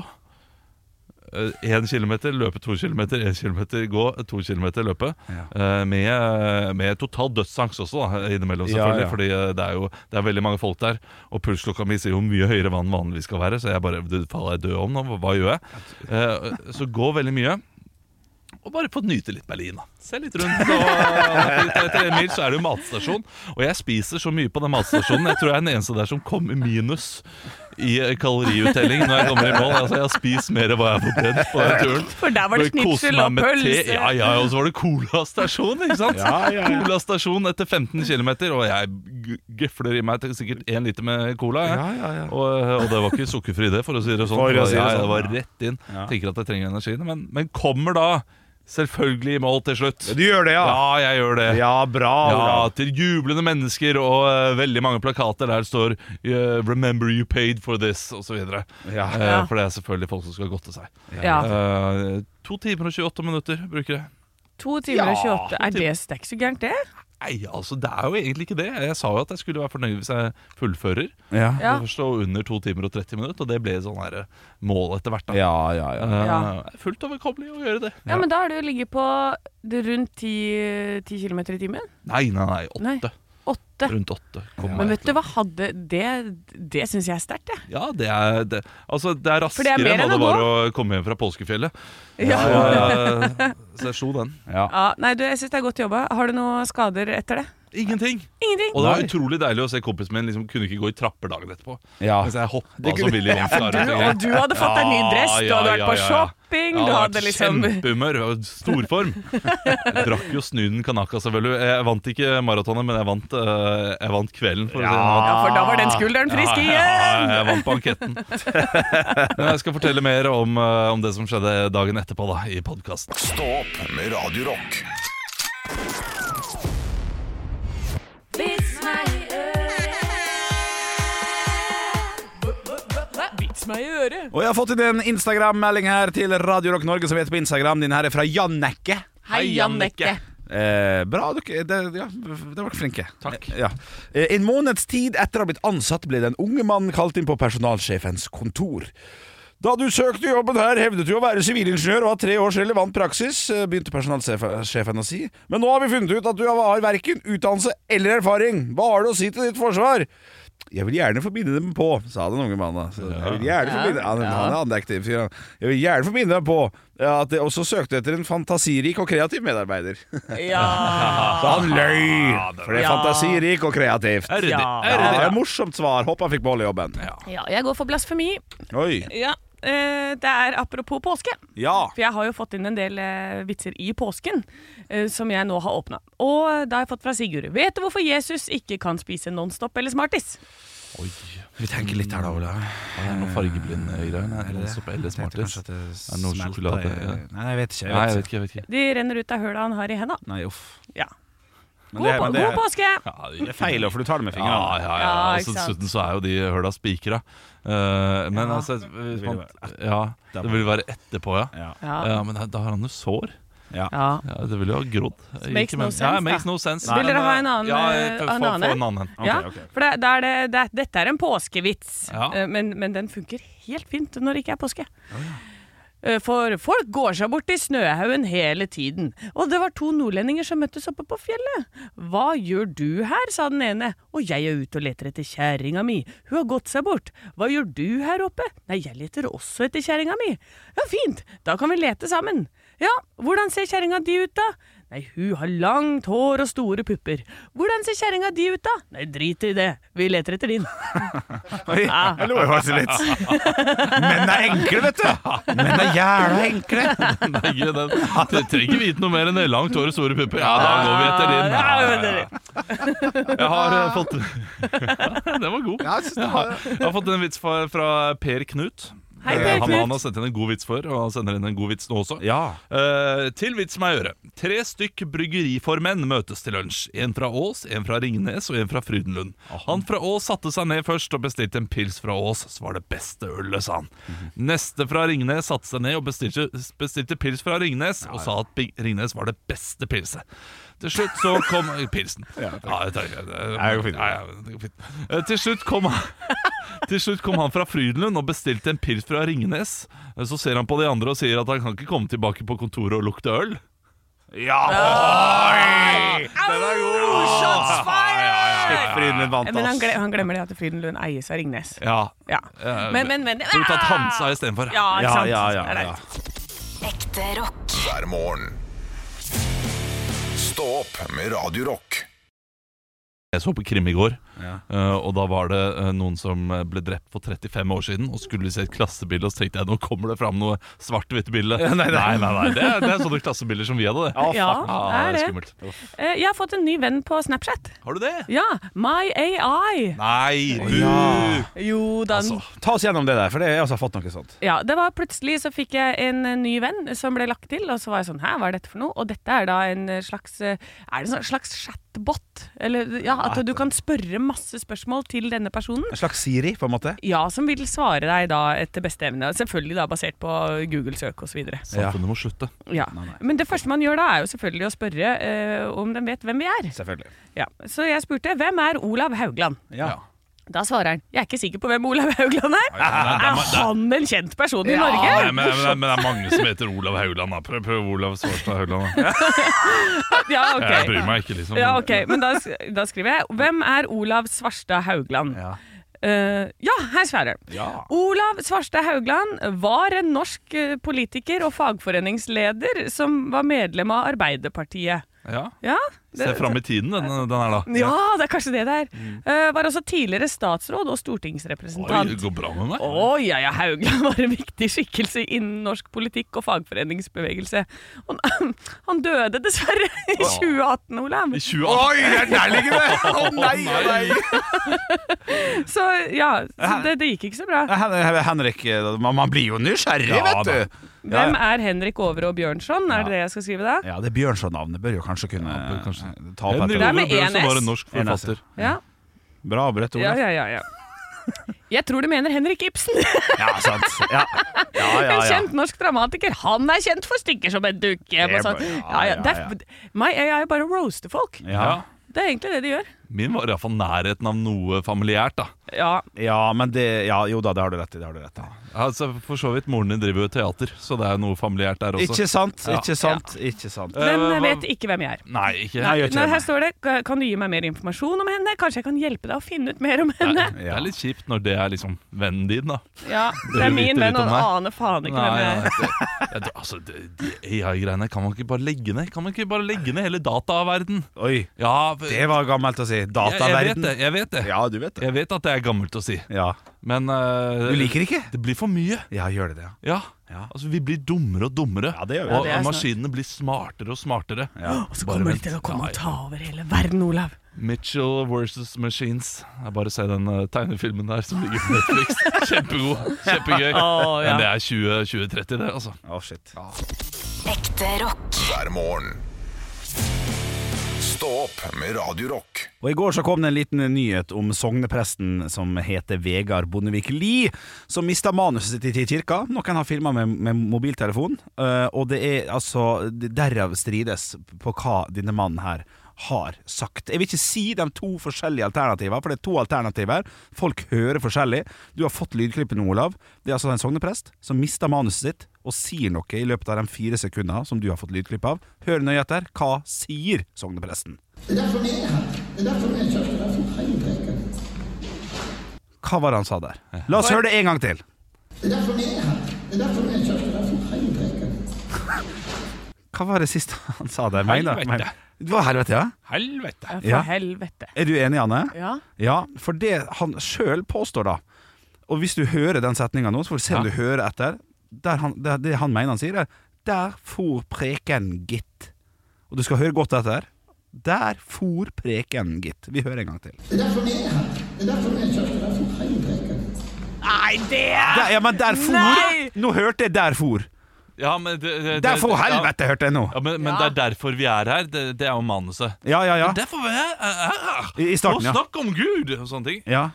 Speaker 3: eh, 1 km, løpe 2 km, 1 km, gå 2 km, løpe. eh, med, med total dødsangst også, da, innimellom,
Speaker 2: Ja,
Speaker 3: selvfølgelig.
Speaker 2: ja.
Speaker 3: Fordi eh, det er jo det er veldig mange folk der. Og pulsklokka mi sier jo mye høyere hva den vanligvis skal være. Så jeg bare du, Faller jeg død om nå? Hva gjør jeg? Eh, så gå veldig mye. og bare fått nyte litt Berlin. da Se litt rundt. Og etter en mil så er det jo matstasjon. Og jeg spiser så mye på den matstasjonen. Jeg tror jeg er den eneste der som kom i minus i eh, kaloriuttelling når jeg kommer i mål. Altså Jeg har spist mer enn hva jeg har fått brent på den turen.
Speaker 4: For der var
Speaker 3: Og
Speaker 4: det
Speaker 3: jeg koste
Speaker 4: snitsel
Speaker 3: meg
Speaker 4: og
Speaker 3: med te.
Speaker 4: pølse.
Speaker 3: Ja, ja, og så var det colastasjon, ikke sant?
Speaker 8: Ja, ja, ja.
Speaker 3: Colastasjon etter 15 km, og jeg g- gøfler i meg til sikkert én liter med cola. jeg.
Speaker 8: Ja, ja, ja.
Speaker 3: Og, og det var ikke sukkerfri, det, for å si det sånn.
Speaker 8: For å si det
Speaker 3: ja,
Speaker 8: sånn,
Speaker 3: det var
Speaker 8: ja.
Speaker 3: rett inn. Tenker at jeg trenger energien, men, men kommer da selvfølgelig i mål til slutt.
Speaker 8: Du gjør det, ja?
Speaker 3: Ja, jeg gjør det.
Speaker 8: Ja, bra.
Speaker 3: Ja,
Speaker 8: Olav.
Speaker 3: til jublende mennesker og eh, veldig mange plakater der står eh, 'Remember you paid for this', osv. videre
Speaker 8: Ja.
Speaker 3: Eh, For det er selvfølgelig folk som skal godte seg.
Speaker 4: Ja.
Speaker 3: Eh, to timer og 28 minutter bruker jeg.
Speaker 4: To timer og 28. Er det, det er ikke så gærent, det?
Speaker 3: Nei, altså, det er jo egentlig ikke det. Jeg sa jo at jeg skulle være fornøyd hvis jeg fullfører.
Speaker 2: Ja.
Speaker 4: Ja.
Speaker 3: Det Forstå under to timer og 30 minutter, og det ble sånn her mål etter hvert. da.
Speaker 2: Ja, ja, ja.
Speaker 3: Eh,
Speaker 4: Ja.
Speaker 3: det er Fullt overkommelig å gjøre det.
Speaker 4: Ja, men da er det jo ligget på det rundt 10, 10 km i timen.
Speaker 3: Nei, nei, nei. Åtte.
Speaker 4: Nei. Åtte.
Speaker 3: Rundt åtte. kom
Speaker 4: Men
Speaker 3: jeg
Speaker 4: vet du hva hadde Det, det syns jeg er sterkt, jeg.
Speaker 3: Ja, det er, det, altså, det er
Speaker 4: det
Speaker 3: raskere
Speaker 4: er
Speaker 3: enn hva
Speaker 4: mer enn
Speaker 3: det
Speaker 4: å
Speaker 3: var å komme hjem fra påskefjellet.
Speaker 4: Ja.
Speaker 3: Så, eh, så jeg slo den.
Speaker 4: Ja, nei, du, jeg syns det er godt jobba. Har du noen skader etter det?
Speaker 3: Ingenting.
Speaker 4: Ingenting.
Speaker 3: Og det var
Speaker 2: Nei.
Speaker 3: utrolig deilig å se kompisen min liksom kunne ikke gå i trapper dagen etterpå.
Speaker 2: Ja.
Speaker 3: Mens jeg hoppa
Speaker 2: Det kunne-
Speaker 3: som Willy Wonka. rundt
Speaker 4: Du,
Speaker 3: omkring.
Speaker 4: og du hadde fått deg ny dress, du
Speaker 3: Ja, ja,
Speaker 4: hadde vært på
Speaker 3: ja, ja.
Speaker 4: shopping,
Speaker 3: Ja,
Speaker 4: du
Speaker 3: det var
Speaker 4: hadde liksom
Speaker 3: Kjempehumør. jeg var i Storform. Jeg drakk jo snyden kanaka, selvfølgelig. Jeg vant ikke maratonet, men jeg vant, eh, jeg vant kvelden. For å si det sånn.
Speaker 4: Ja, for da var den skulderen frisk
Speaker 3: Ja,
Speaker 4: igjen!
Speaker 3: jeg vant banketten. Men jeg skal fortelle mer om, eh, om det som skjedde dagen etterpå da, i podkasten.
Speaker 1: Stå opp med Radio Rock.
Speaker 4: Vits meg i øret.
Speaker 2: Og jeg har fått inn en Instagram-melding her til Radio Rock Norge, som heter på Instagram. Din her er fra Jannekke.
Speaker 4: Hei, Jannicke.
Speaker 2: Eh, bra, dere det, ja, det var flinke.
Speaker 3: Takk.
Speaker 2: Eh, Ja. Eh, En måneds tid etter å ha blitt ansatt, ble den unge mannen kalt inn på personalsjefens kontor. Da du søkte jobben her, hevdet du å være sivilingeniør og ha tre års relevant praksis, eh, begynte personalsjefen å si. Men nå har vi funnet ut at du har verken utdannelse eller erfaring. Hva har du å si til ditt forsvar? Jeg vil gjerne forbinde dem på, sa den unge mannen. da. Så, jeg vil gjerne forbinde, han, han er andektiv, sier han. Jeg vil gjerne forbinde dem på ja, at jeg også søkte etter en fantasirik og kreativ medarbeider.
Speaker 4: Ja.
Speaker 2: Så han løy! For det er
Speaker 4: Ja.
Speaker 2: fantasirik og kreativt.
Speaker 3: Er det det?
Speaker 4: Ja.
Speaker 2: Ja,
Speaker 3: Er det
Speaker 2: det
Speaker 3: det?
Speaker 2: er morsomt svar. Håper han fikk beholde jobben.
Speaker 4: ja. Jeg går for blasfemi.
Speaker 2: Oi.
Speaker 4: Ja. eh, Det er apropos påske.
Speaker 2: Ja.
Speaker 4: For jeg har jo fått inn en del eh, vitser i påsken eh, som jeg nå har åpna. Og da har jeg fått fra Sigurd. Vet du hvorfor Jesus ikke kan spise Nonstop eller Smartis?
Speaker 2: Vi tenker litt her, da, Ola.
Speaker 3: Er det noe fargeblind greier? Nei, Er det sopp eller smartis? Er det noe sjokolade? Ja.
Speaker 2: Nei, jeg vet ikke.
Speaker 3: Nei, jeg vet ikke. jeg vet ikke
Speaker 4: De renner ut av høla han har i henda.
Speaker 2: Nei, uff.
Speaker 4: Ja.
Speaker 2: Men
Speaker 4: God,
Speaker 2: det-
Speaker 4: på,
Speaker 2: men det-
Speaker 4: god påske!
Speaker 3: ja,
Speaker 2: Det er feil, for du tar det med
Speaker 3: Ja,
Speaker 2: fingrene.
Speaker 3: ja, ja.
Speaker 4: Ja,
Speaker 3: Altså,
Speaker 4: ikke sant.
Speaker 3: dessuten så er jo de høla spikra. Eh, men
Speaker 2: Ja,
Speaker 3: altså
Speaker 2: ville
Speaker 3: man, ja,
Speaker 2: etterpå.
Speaker 3: Det ville være etterpå, ja.
Speaker 2: Ja.
Speaker 4: Ja.
Speaker 3: Ja, men da har han jo sår.
Speaker 4: ja.
Speaker 3: Ja, det ville jo ha grodd.
Speaker 4: makes
Speaker 3: Ikke,
Speaker 4: no
Speaker 3: men-
Speaker 4: sense,
Speaker 3: ja,
Speaker 4: da.
Speaker 3: makes no sense.
Speaker 4: Vil dere
Speaker 3: Men,
Speaker 4: ha en annen,
Speaker 3: Ja,
Speaker 4: eh,
Speaker 3: få-
Speaker 4: en
Speaker 3: få-
Speaker 4: annen?
Speaker 3: Få en annen.
Speaker 2: Ok,
Speaker 4: ja.
Speaker 2: ok, ok.
Speaker 4: For det, da er det, det, er- dette er en påskevits,
Speaker 3: Ja.
Speaker 4: Eh, men, men den funker helt fint når det ikke er påske. Eh, For folk går seg bort i snøhaugen hele tiden. Og det var to nordlendinger som møttes oppe på fjellet. Hva gjør du her, sa den ene. Og jeg er ute og leter etter kjerringa mi. Hun har gått seg bort. Hva gjør du her oppe? Nei, jeg leter også etter kjerringa mi. Ja, fint, da kan vi lete sammen. Ja, hvordan ser kjerringa di ut, da? Nei, hun har langt hår og store pupper. Hvordan ser kjerringa di ut, da? Nei, drit i det, vi leter etter din.
Speaker 2: Oi, jeg lo jo faktisk litt. Menn er enkle, vet du. Menn er jævla enkle.
Speaker 3: Nei, ikke den. Du trenger vite noe mer enn det. Langt hår og store pupper. Ja, da går vi etter din.
Speaker 4: Ja,
Speaker 3: Ja,
Speaker 4: men
Speaker 3: ja, ja.
Speaker 4: dere-
Speaker 3: Jeg har eh, fått Ja, Den var god. Jeg har fått en vits fra, fra Per Knut.
Speaker 4: Hei,
Speaker 3: Eh,
Speaker 4: Per
Speaker 3: han,
Speaker 4: Knut.
Speaker 3: han har sendt inn en god vits før, og han sender inn en god vits nå også.
Speaker 2: Ja.
Speaker 3: Eh, til vits meg øre. Tre stykk bryggeriformenn møtes til lunsj. En fra Ås, en fra Ringnes og en fra Frydenlund. Han fra Ås satte seg ned først og bestilte en pils fra Ås, som var det beste ølet, sa han.
Speaker 2: Mhm.
Speaker 3: Neste fra Ringnes satte seg ned og bestilte, bestilte pils fra Ringnes, og sa at Bing- Ringnes var det beste pilset. Til slutt så kom Pilsen. Ja, det tar jeg. Det-
Speaker 2: det går fint.
Speaker 3: Ja, ja, det går fint. Eh, Til slutt kom han til slutt kom han fra Frydenlund og bestilte en pils fra Ringnes. Så ser han på de andre og sier at han kan ikke komme tilbake på kontoret og lukte øl.
Speaker 2: Ja. Oi! Den er god. Shots fired! Frydenlund vant,
Speaker 4: Men han,
Speaker 2: ass.
Speaker 4: gle- han glemmer det at Frydenlund eies av Ringnes.
Speaker 3: Ja.
Speaker 4: Ja.
Speaker 3: Eh,
Speaker 4: Men, men, men
Speaker 3: Burde tatt Hansa istedenfor.
Speaker 4: Ja, ikke
Speaker 2: Ja,
Speaker 4: sant?
Speaker 2: ja, ja,
Speaker 4: Det er
Speaker 2: ja.
Speaker 4: leit.
Speaker 5: Ekte rock.
Speaker 1: hver morgen. Stå opp med Radio Rock.
Speaker 3: Jeg så på krim i går,
Speaker 2: Ja.
Speaker 3: eh, og da var det eh, noen som eh, ble drept for 35 år siden. Og skulle se et klassebilde, og så tenkte jeg nå kommer det fram noe svart-hvitt bilde. nei, nei, nei, Det, er, det er sånne klassebilder som vi hadde, det.
Speaker 4: Ja,
Speaker 3: Ah,
Speaker 4: er det.
Speaker 3: skummelt.
Speaker 4: Eh, Jeg har fått en ny venn på Snapchat.
Speaker 3: Har du det?
Speaker 4: Ja, My AI.
Speaker 3: Nei! Bu!
Speaker 4: Jo da. den-
Speaker 3: Altså.
Speaker 2: Ta oss gjennom det der, for det, jeg har altså fått noe sånt.
Speaker 4: Ja, det var plutselig så fikk jeg en eh, ny venn som ble lagt til, og så var jeg sånn hæ, hva er dette for noe? Og dette er da en eh, slags eh, Er det en sånn slags chatbot? Eller ja, at du kan spørre masse spørsmål til denne personen.
Speaker 2: En slags Siri, på en måte.
Speaker 4: Ja, som vil svare deg da etter beste evne. Selvfølgelig da basert på Google-søk osv.
Speaker 3: Samfunnet må slutte.
Speaker 4: Ja. Men det første man gjør da, er jo selvfølgelig å spørre eh, om de vet hvem vi er.
Speaker 2: Selvfølgelig.
Speaker 4: Ja. Så jeg spurte hvem er Olav Haugland?
Speaker 2: Ja.
Speaker 4: Da svarer han jeg er ikke sikker på hvem Olav Haugland er. Er han en kjent person i
Speaker 3: Nei,
Speaker 4: Norge?
Speaker 3: men, men, men det er mange som heter Olav Haugland. da. Prøv, prøv Olav Svarstad Haugland. da.
Speaker 4: Ja,
Speaker 3: Jeg
Speaker 4: ok.
Speaker 3: bryr meg ikke, liksom.
Speaker 4: Ja, ok, Men da, sk- da skriver jeg Hvem er Olav Svarstad Haugland?
Speaker 2: Ja.
Speaker 4: Eh, ja, her svarer han.
Speaker 2: Ja.
Speaker 4: Olav Svarstad Haugland var en norsk eh, politiker og fagforeningsleder som var medlem av Arbeiderpartiet.
Speaker 3: Ja.
Speaker 4: Ja,
Speaker 3: Se fram i tiden, den, den her, da.
Speaker 4: ja det er kanskje det det er. Eh, var også tidligere statsråd og
Speaker 3: Oi, det
Speaker 4: stortingsrepresentant.
Speaker 3: går bra med meg.
Speaker 4: Å ja, ja, Haugland var en viktig skikkelse innen norsk politikk og fagforeningsbevegelse. Han, han døde dessverre i 2018, Olav.
Speaker 3: I 2018.
Speaker 2: det er nærliggende! Å nei, å nei!
Speaker 4: Så ja, så det, det gikk ikke så bra.
Speaker 2: Hen Henrik, eh, man, man blir jo nysgjerrig,
Speaker 3: Ja,
Speaker 2: vet
Speaker 3: da.
Speaker 2: du. Ja,
Speaker 4: Hvem er Henrik Overå Bjørnson? Er det det jeg skal skrive da?
Speaker 2: ja, det Bjørnson-navnet bør jo kanskje kunne
Speaker 3: bør kanskje.
Speaker 2: eh, ta opp
Speaker 3: Henrik
Speaker 2: etter.
Speaker 4: Det er
Speaker 3: Olav
Speaker 4: med
Speaker 3: Bjørnson
Speaker 4: en
Speaker 3: var
Speaker 4: S.
Speaker 3: en norsk
Speaker 2: En S, ja.
Speaker 3: forfatter.
Speaker 4: Ja,
Speaker 2: Bra brett,
Speaker 4: ja,
Speaker 2: Olav.
Speaker 4: ja. ja, ja. Jeg tror du mener Henrik Ibsen.
Speaker 2: Ja, sant. Ja, ja, ja.
Speaker 4: En
Speaker 2: ja.
Speaker 4: kjent norsk dramatiker. Han er kjent for stykker som en dukke.
Speaker 2: Det
Speaker 4: og sånn.
Speaker 2: er bra.
Speaker 4: Ja, ja,
Speaker 2: Ja,
Speaker 4: det
Speaker 2: ja,
Speaker 4: er, My AI er bare å roaste folk.
Speaker 2: Ja.
Speaker 4: Det er egentlig det de gjør.
Speaker 3: Min var iallfall nærheten av noe familiært, da.
Speaker 4: Ja,
Speaker 2: ja, men det Ja, jo da, det har du rett i. Det har du rett i.
Speaker 3: Altså, For så vidt, moren din driver jo teater, så det er noe familiært der også.
Speaker 2: Ikke sant,
Speaker 3: Ja.
Speaker 2: ikke sant, ikke sant.
Speaker 3: Eh,
Speaker 4: Hvem
Speaker 3: hva-
Speaker 4: vet ikke hvem jeg er.
Speaker 3: Nei, ikke
Speaker 2: Nei, gjør
Speaker 4: Nei,
Speaker 2: ikke
Speaker 4: her
Speaker 2: det.
Speaker 4: står det "Ka- Kan du gi meg mer informasjon om henne? Kanskje jeg kan hjelpe deg å finne ut mer om henne?
Speaker 3: Nei, Det er litt kjipt når det er liksom vennen din, da.
Speaker 4: Ja, Det
Speaker 3: vil
Speaker 4: er
Speaker 3: vite
Speaker 4: min venn,
Speaker 3: litt om
Speaker 4: og han
Speaker 3: meg.
Speaker 4: aner faen ikke hvem jeg
Speaker 3: Nei,
Speaker 4: er.
Speaker 3: nei, det- jeg tror- altså, det- de AI-greiene kan man ikke bare legge ned. Kan man ikke bare legge ned hele dataverden?
Speaker 2: Oi,
Speaker 3: Ja,
Speaker 2: det var gammelt å si.
Speaker 3: jeg, jeg vet
Speaker 2: Dataverden.
Speaker 3: det. Jeg vet det
Speaker 2: Ja, du vet det.
Speaker 3: Jeg vet at det er gammelt å si,
Speaker 2: Ja.
Speaker 3: men eh,
Speaker 2: Du liker ikke?
Speaker 3: det blir for mye.
Speaker 2: Ja, gjør det det, ja.
Speaker 3: Ja.
Speaker 2: Ja.
Speaker 3: Altså, vi blir dummere og dummere.
Speaker 2: Ja, det gjør vi.
Speaker 3: og
Speaker 4: Ja, det er
Speaker 3: maskinene blir smartere og smartere.
Speaker 4: Og så kommer de til å komme og ta over hele verden, Olav.
Speaker 3: Mitchell versus Machines. Jeg bare se den eh, tegnefilmen der som ligger på Netflix. Kjempegod. Kjempegøy.
Speaker 4: Å, ja.
Speaker 3: Men det er 20 2030, det, altså.
Speaker 2: Å, shit.
Speaker 5: Ekte rock.
Speaker 1: hver morgen. Stå opp med Radio Rock.
Speaker 2: Og I går så kom det en liten nyhet om sognepresten som heter Vegard Bondevik Lie, som mista manuset sitt i kirka. Noen har filma med, med mobiltelefon, eh, og det er altså derav strides på hva denne mannen her har sagt. Jeg vil ikke si de to forskjellige alternativene, for det er to alternativer. Folk hører forskjellig. Du har fått lydklippet nå, Olav. Det er altså en sogneprest som mister manuset sitt og sier noe i løpet av de fire sekundene som du har fått lydklipp av. Hør nøye etter. Hva sier sognepresten? Hva var det han sa der? La oss høre det en gang til. Hva var det siste han sa der? Mener-
Speaker 3: Helvete.
Speaker 2: mener- Det var helvete, ja.
Speaker 3: Helvete.
Speaker 4: For
Speaker 2: Ja.
Speaker 4: helvete.
Speaker 2: Er du enig, Anne?
Speaker 4: Ja.
Speaker 2: Ja, for det han sjøl påstår, da Og hvis du hører den setninga nå, så får du se om
Speaker 3: Ja.
Speaker 2: du hører etter. Der han, der, det han mener han sier, er 'Der for preken, gitt'. Og du skal høre godt etter. 'Der for preken, gitt'. Vi hører en gang til.
Speaker 4: Nei, det er
Speaker 2: Der, ja, men der for
Speaker 4: Nei!
Speaker 2: Nå hørte jeg 'der for'.
Speaker 3: Ja, men det, det, det-
Speaker 2: Der for
Speaker 3: ja.
Speaker 2: helvete, hørte jeg nå.
Speaker 3: Ja, men, men det er derfor vi er her. Det, det er jo manuset.
Speaker 2: Ja, ja, ja.
Speaker 3: Derfor vi er her!
Speaker 2: I- i starten, ja.
Speaker 3: Og snakk om Gud! Og sånne ting.
Speaker 2: ja.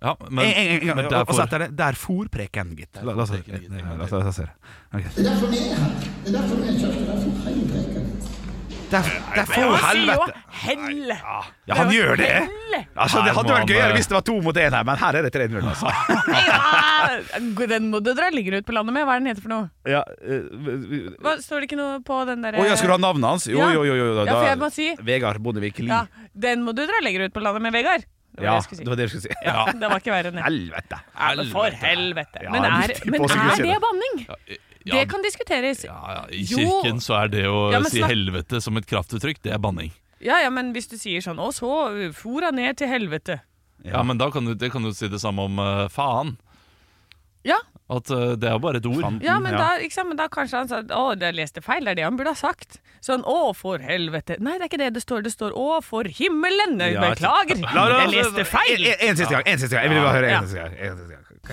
Speaker 3: Ja, men,
Speaker 2: En- en- en gang,
Speaker 3: men
Speaker 2: og- Og
Speaker 3: derfor
Speaker 2: så etter det Der for preken, gitt. La la oss
Speaker 3: for preken, gitt.
Speaker 2: la- la- la- la oss høre. Ok. Der, der for helvete!
Speaker 4: Hell!
Speaker 2: Ja, han gjør det!
Speaker 4: Hell!
Speaker 2: Altså, det
Speaker 3: Her
Speaker 2: hadde
Speaker 3: må
Speaker 2: vært
Speaker 3: han,
Speaker 2: gøyere
Speaker 3: eh,
Speaker 2: hvis det var to mot én her, men her er det 3-0. Altså.
Speaker 4: Ja! Den må du dra lenger ut på landet med. Hva er den heter for noe?
Speaker 2: Ja, eh,
Speaker 4: Hva, står det ikke noe på den derre
Speaker 2: Å ja, skal du ha navnet hans? Jo,
Speaker 4: Ja.
Speaker 2: jo, jo. jo da,
Speaker 4: Ja, for jeg må si-
Speaker 2: Vegard Bondevik Lie.
Speaker 4: Ja, Den må du dra lenger ut på landet med, Vegard. Det var
Speaker 2: Ja,
Speaker 4: det jeg skulle si.
Speaker 2: det var det jeg skulle si.
Speaker 4: Ja, det var ikke verre enn det.
Speaker 2: Helvete!
Speaker 4: Ja, men For helvete.
Speaker 2: Ja,
Speaker 4: Men
Speaker 2: jeg
Speaker 4: er,
Speaker 2: likte på
Speaker 4: men
Speaker 2: å skulle
Speaker 4: er
Speaker 2: si
Speaker 4: det
Speaker 2: det.
Speaker 4: banning?
Speaker 3: Ja, Ja,
Speaker 4: Det kan diskuteres.
Speaker 3: ja, ja, I
Speaker 4: Jo.
Speaker 3: kirken så er det å
Speaker 4: Ja, men
Speaker 3: si
Speaker 4: snak-
Speaker 3: helvete som et kraftuttrykk, det er banning.
Speaker 4: Ja, ja, men hvis du sier sånn Og så uh, for han ned til helvete.
Speaker 3: Ja, men da kan du, det kan du si det samme om eh, faen.
Speaker 4: Ja,
Speaker 3: At eh, det er jo bare et ord.
Speaker 8: Fanden,
Speaker 4: ja, men,
Speaker 8: ja.
Speaker 4: Da, ikke sant? men da kanskje han sa Å, jeg leste feil, det er det han burde ha sagt. Sånn Å, for helvete. Nei, det er ikke det det står. Det står Å, for himmelen. Jeg
Speaker 8: Ja,
Speaker 4: beklager, jeg leste feil.
Speaker 8: En, en siste gang. en siste gang Jeg vil bare høre en siste gang. En siste gang. Ok.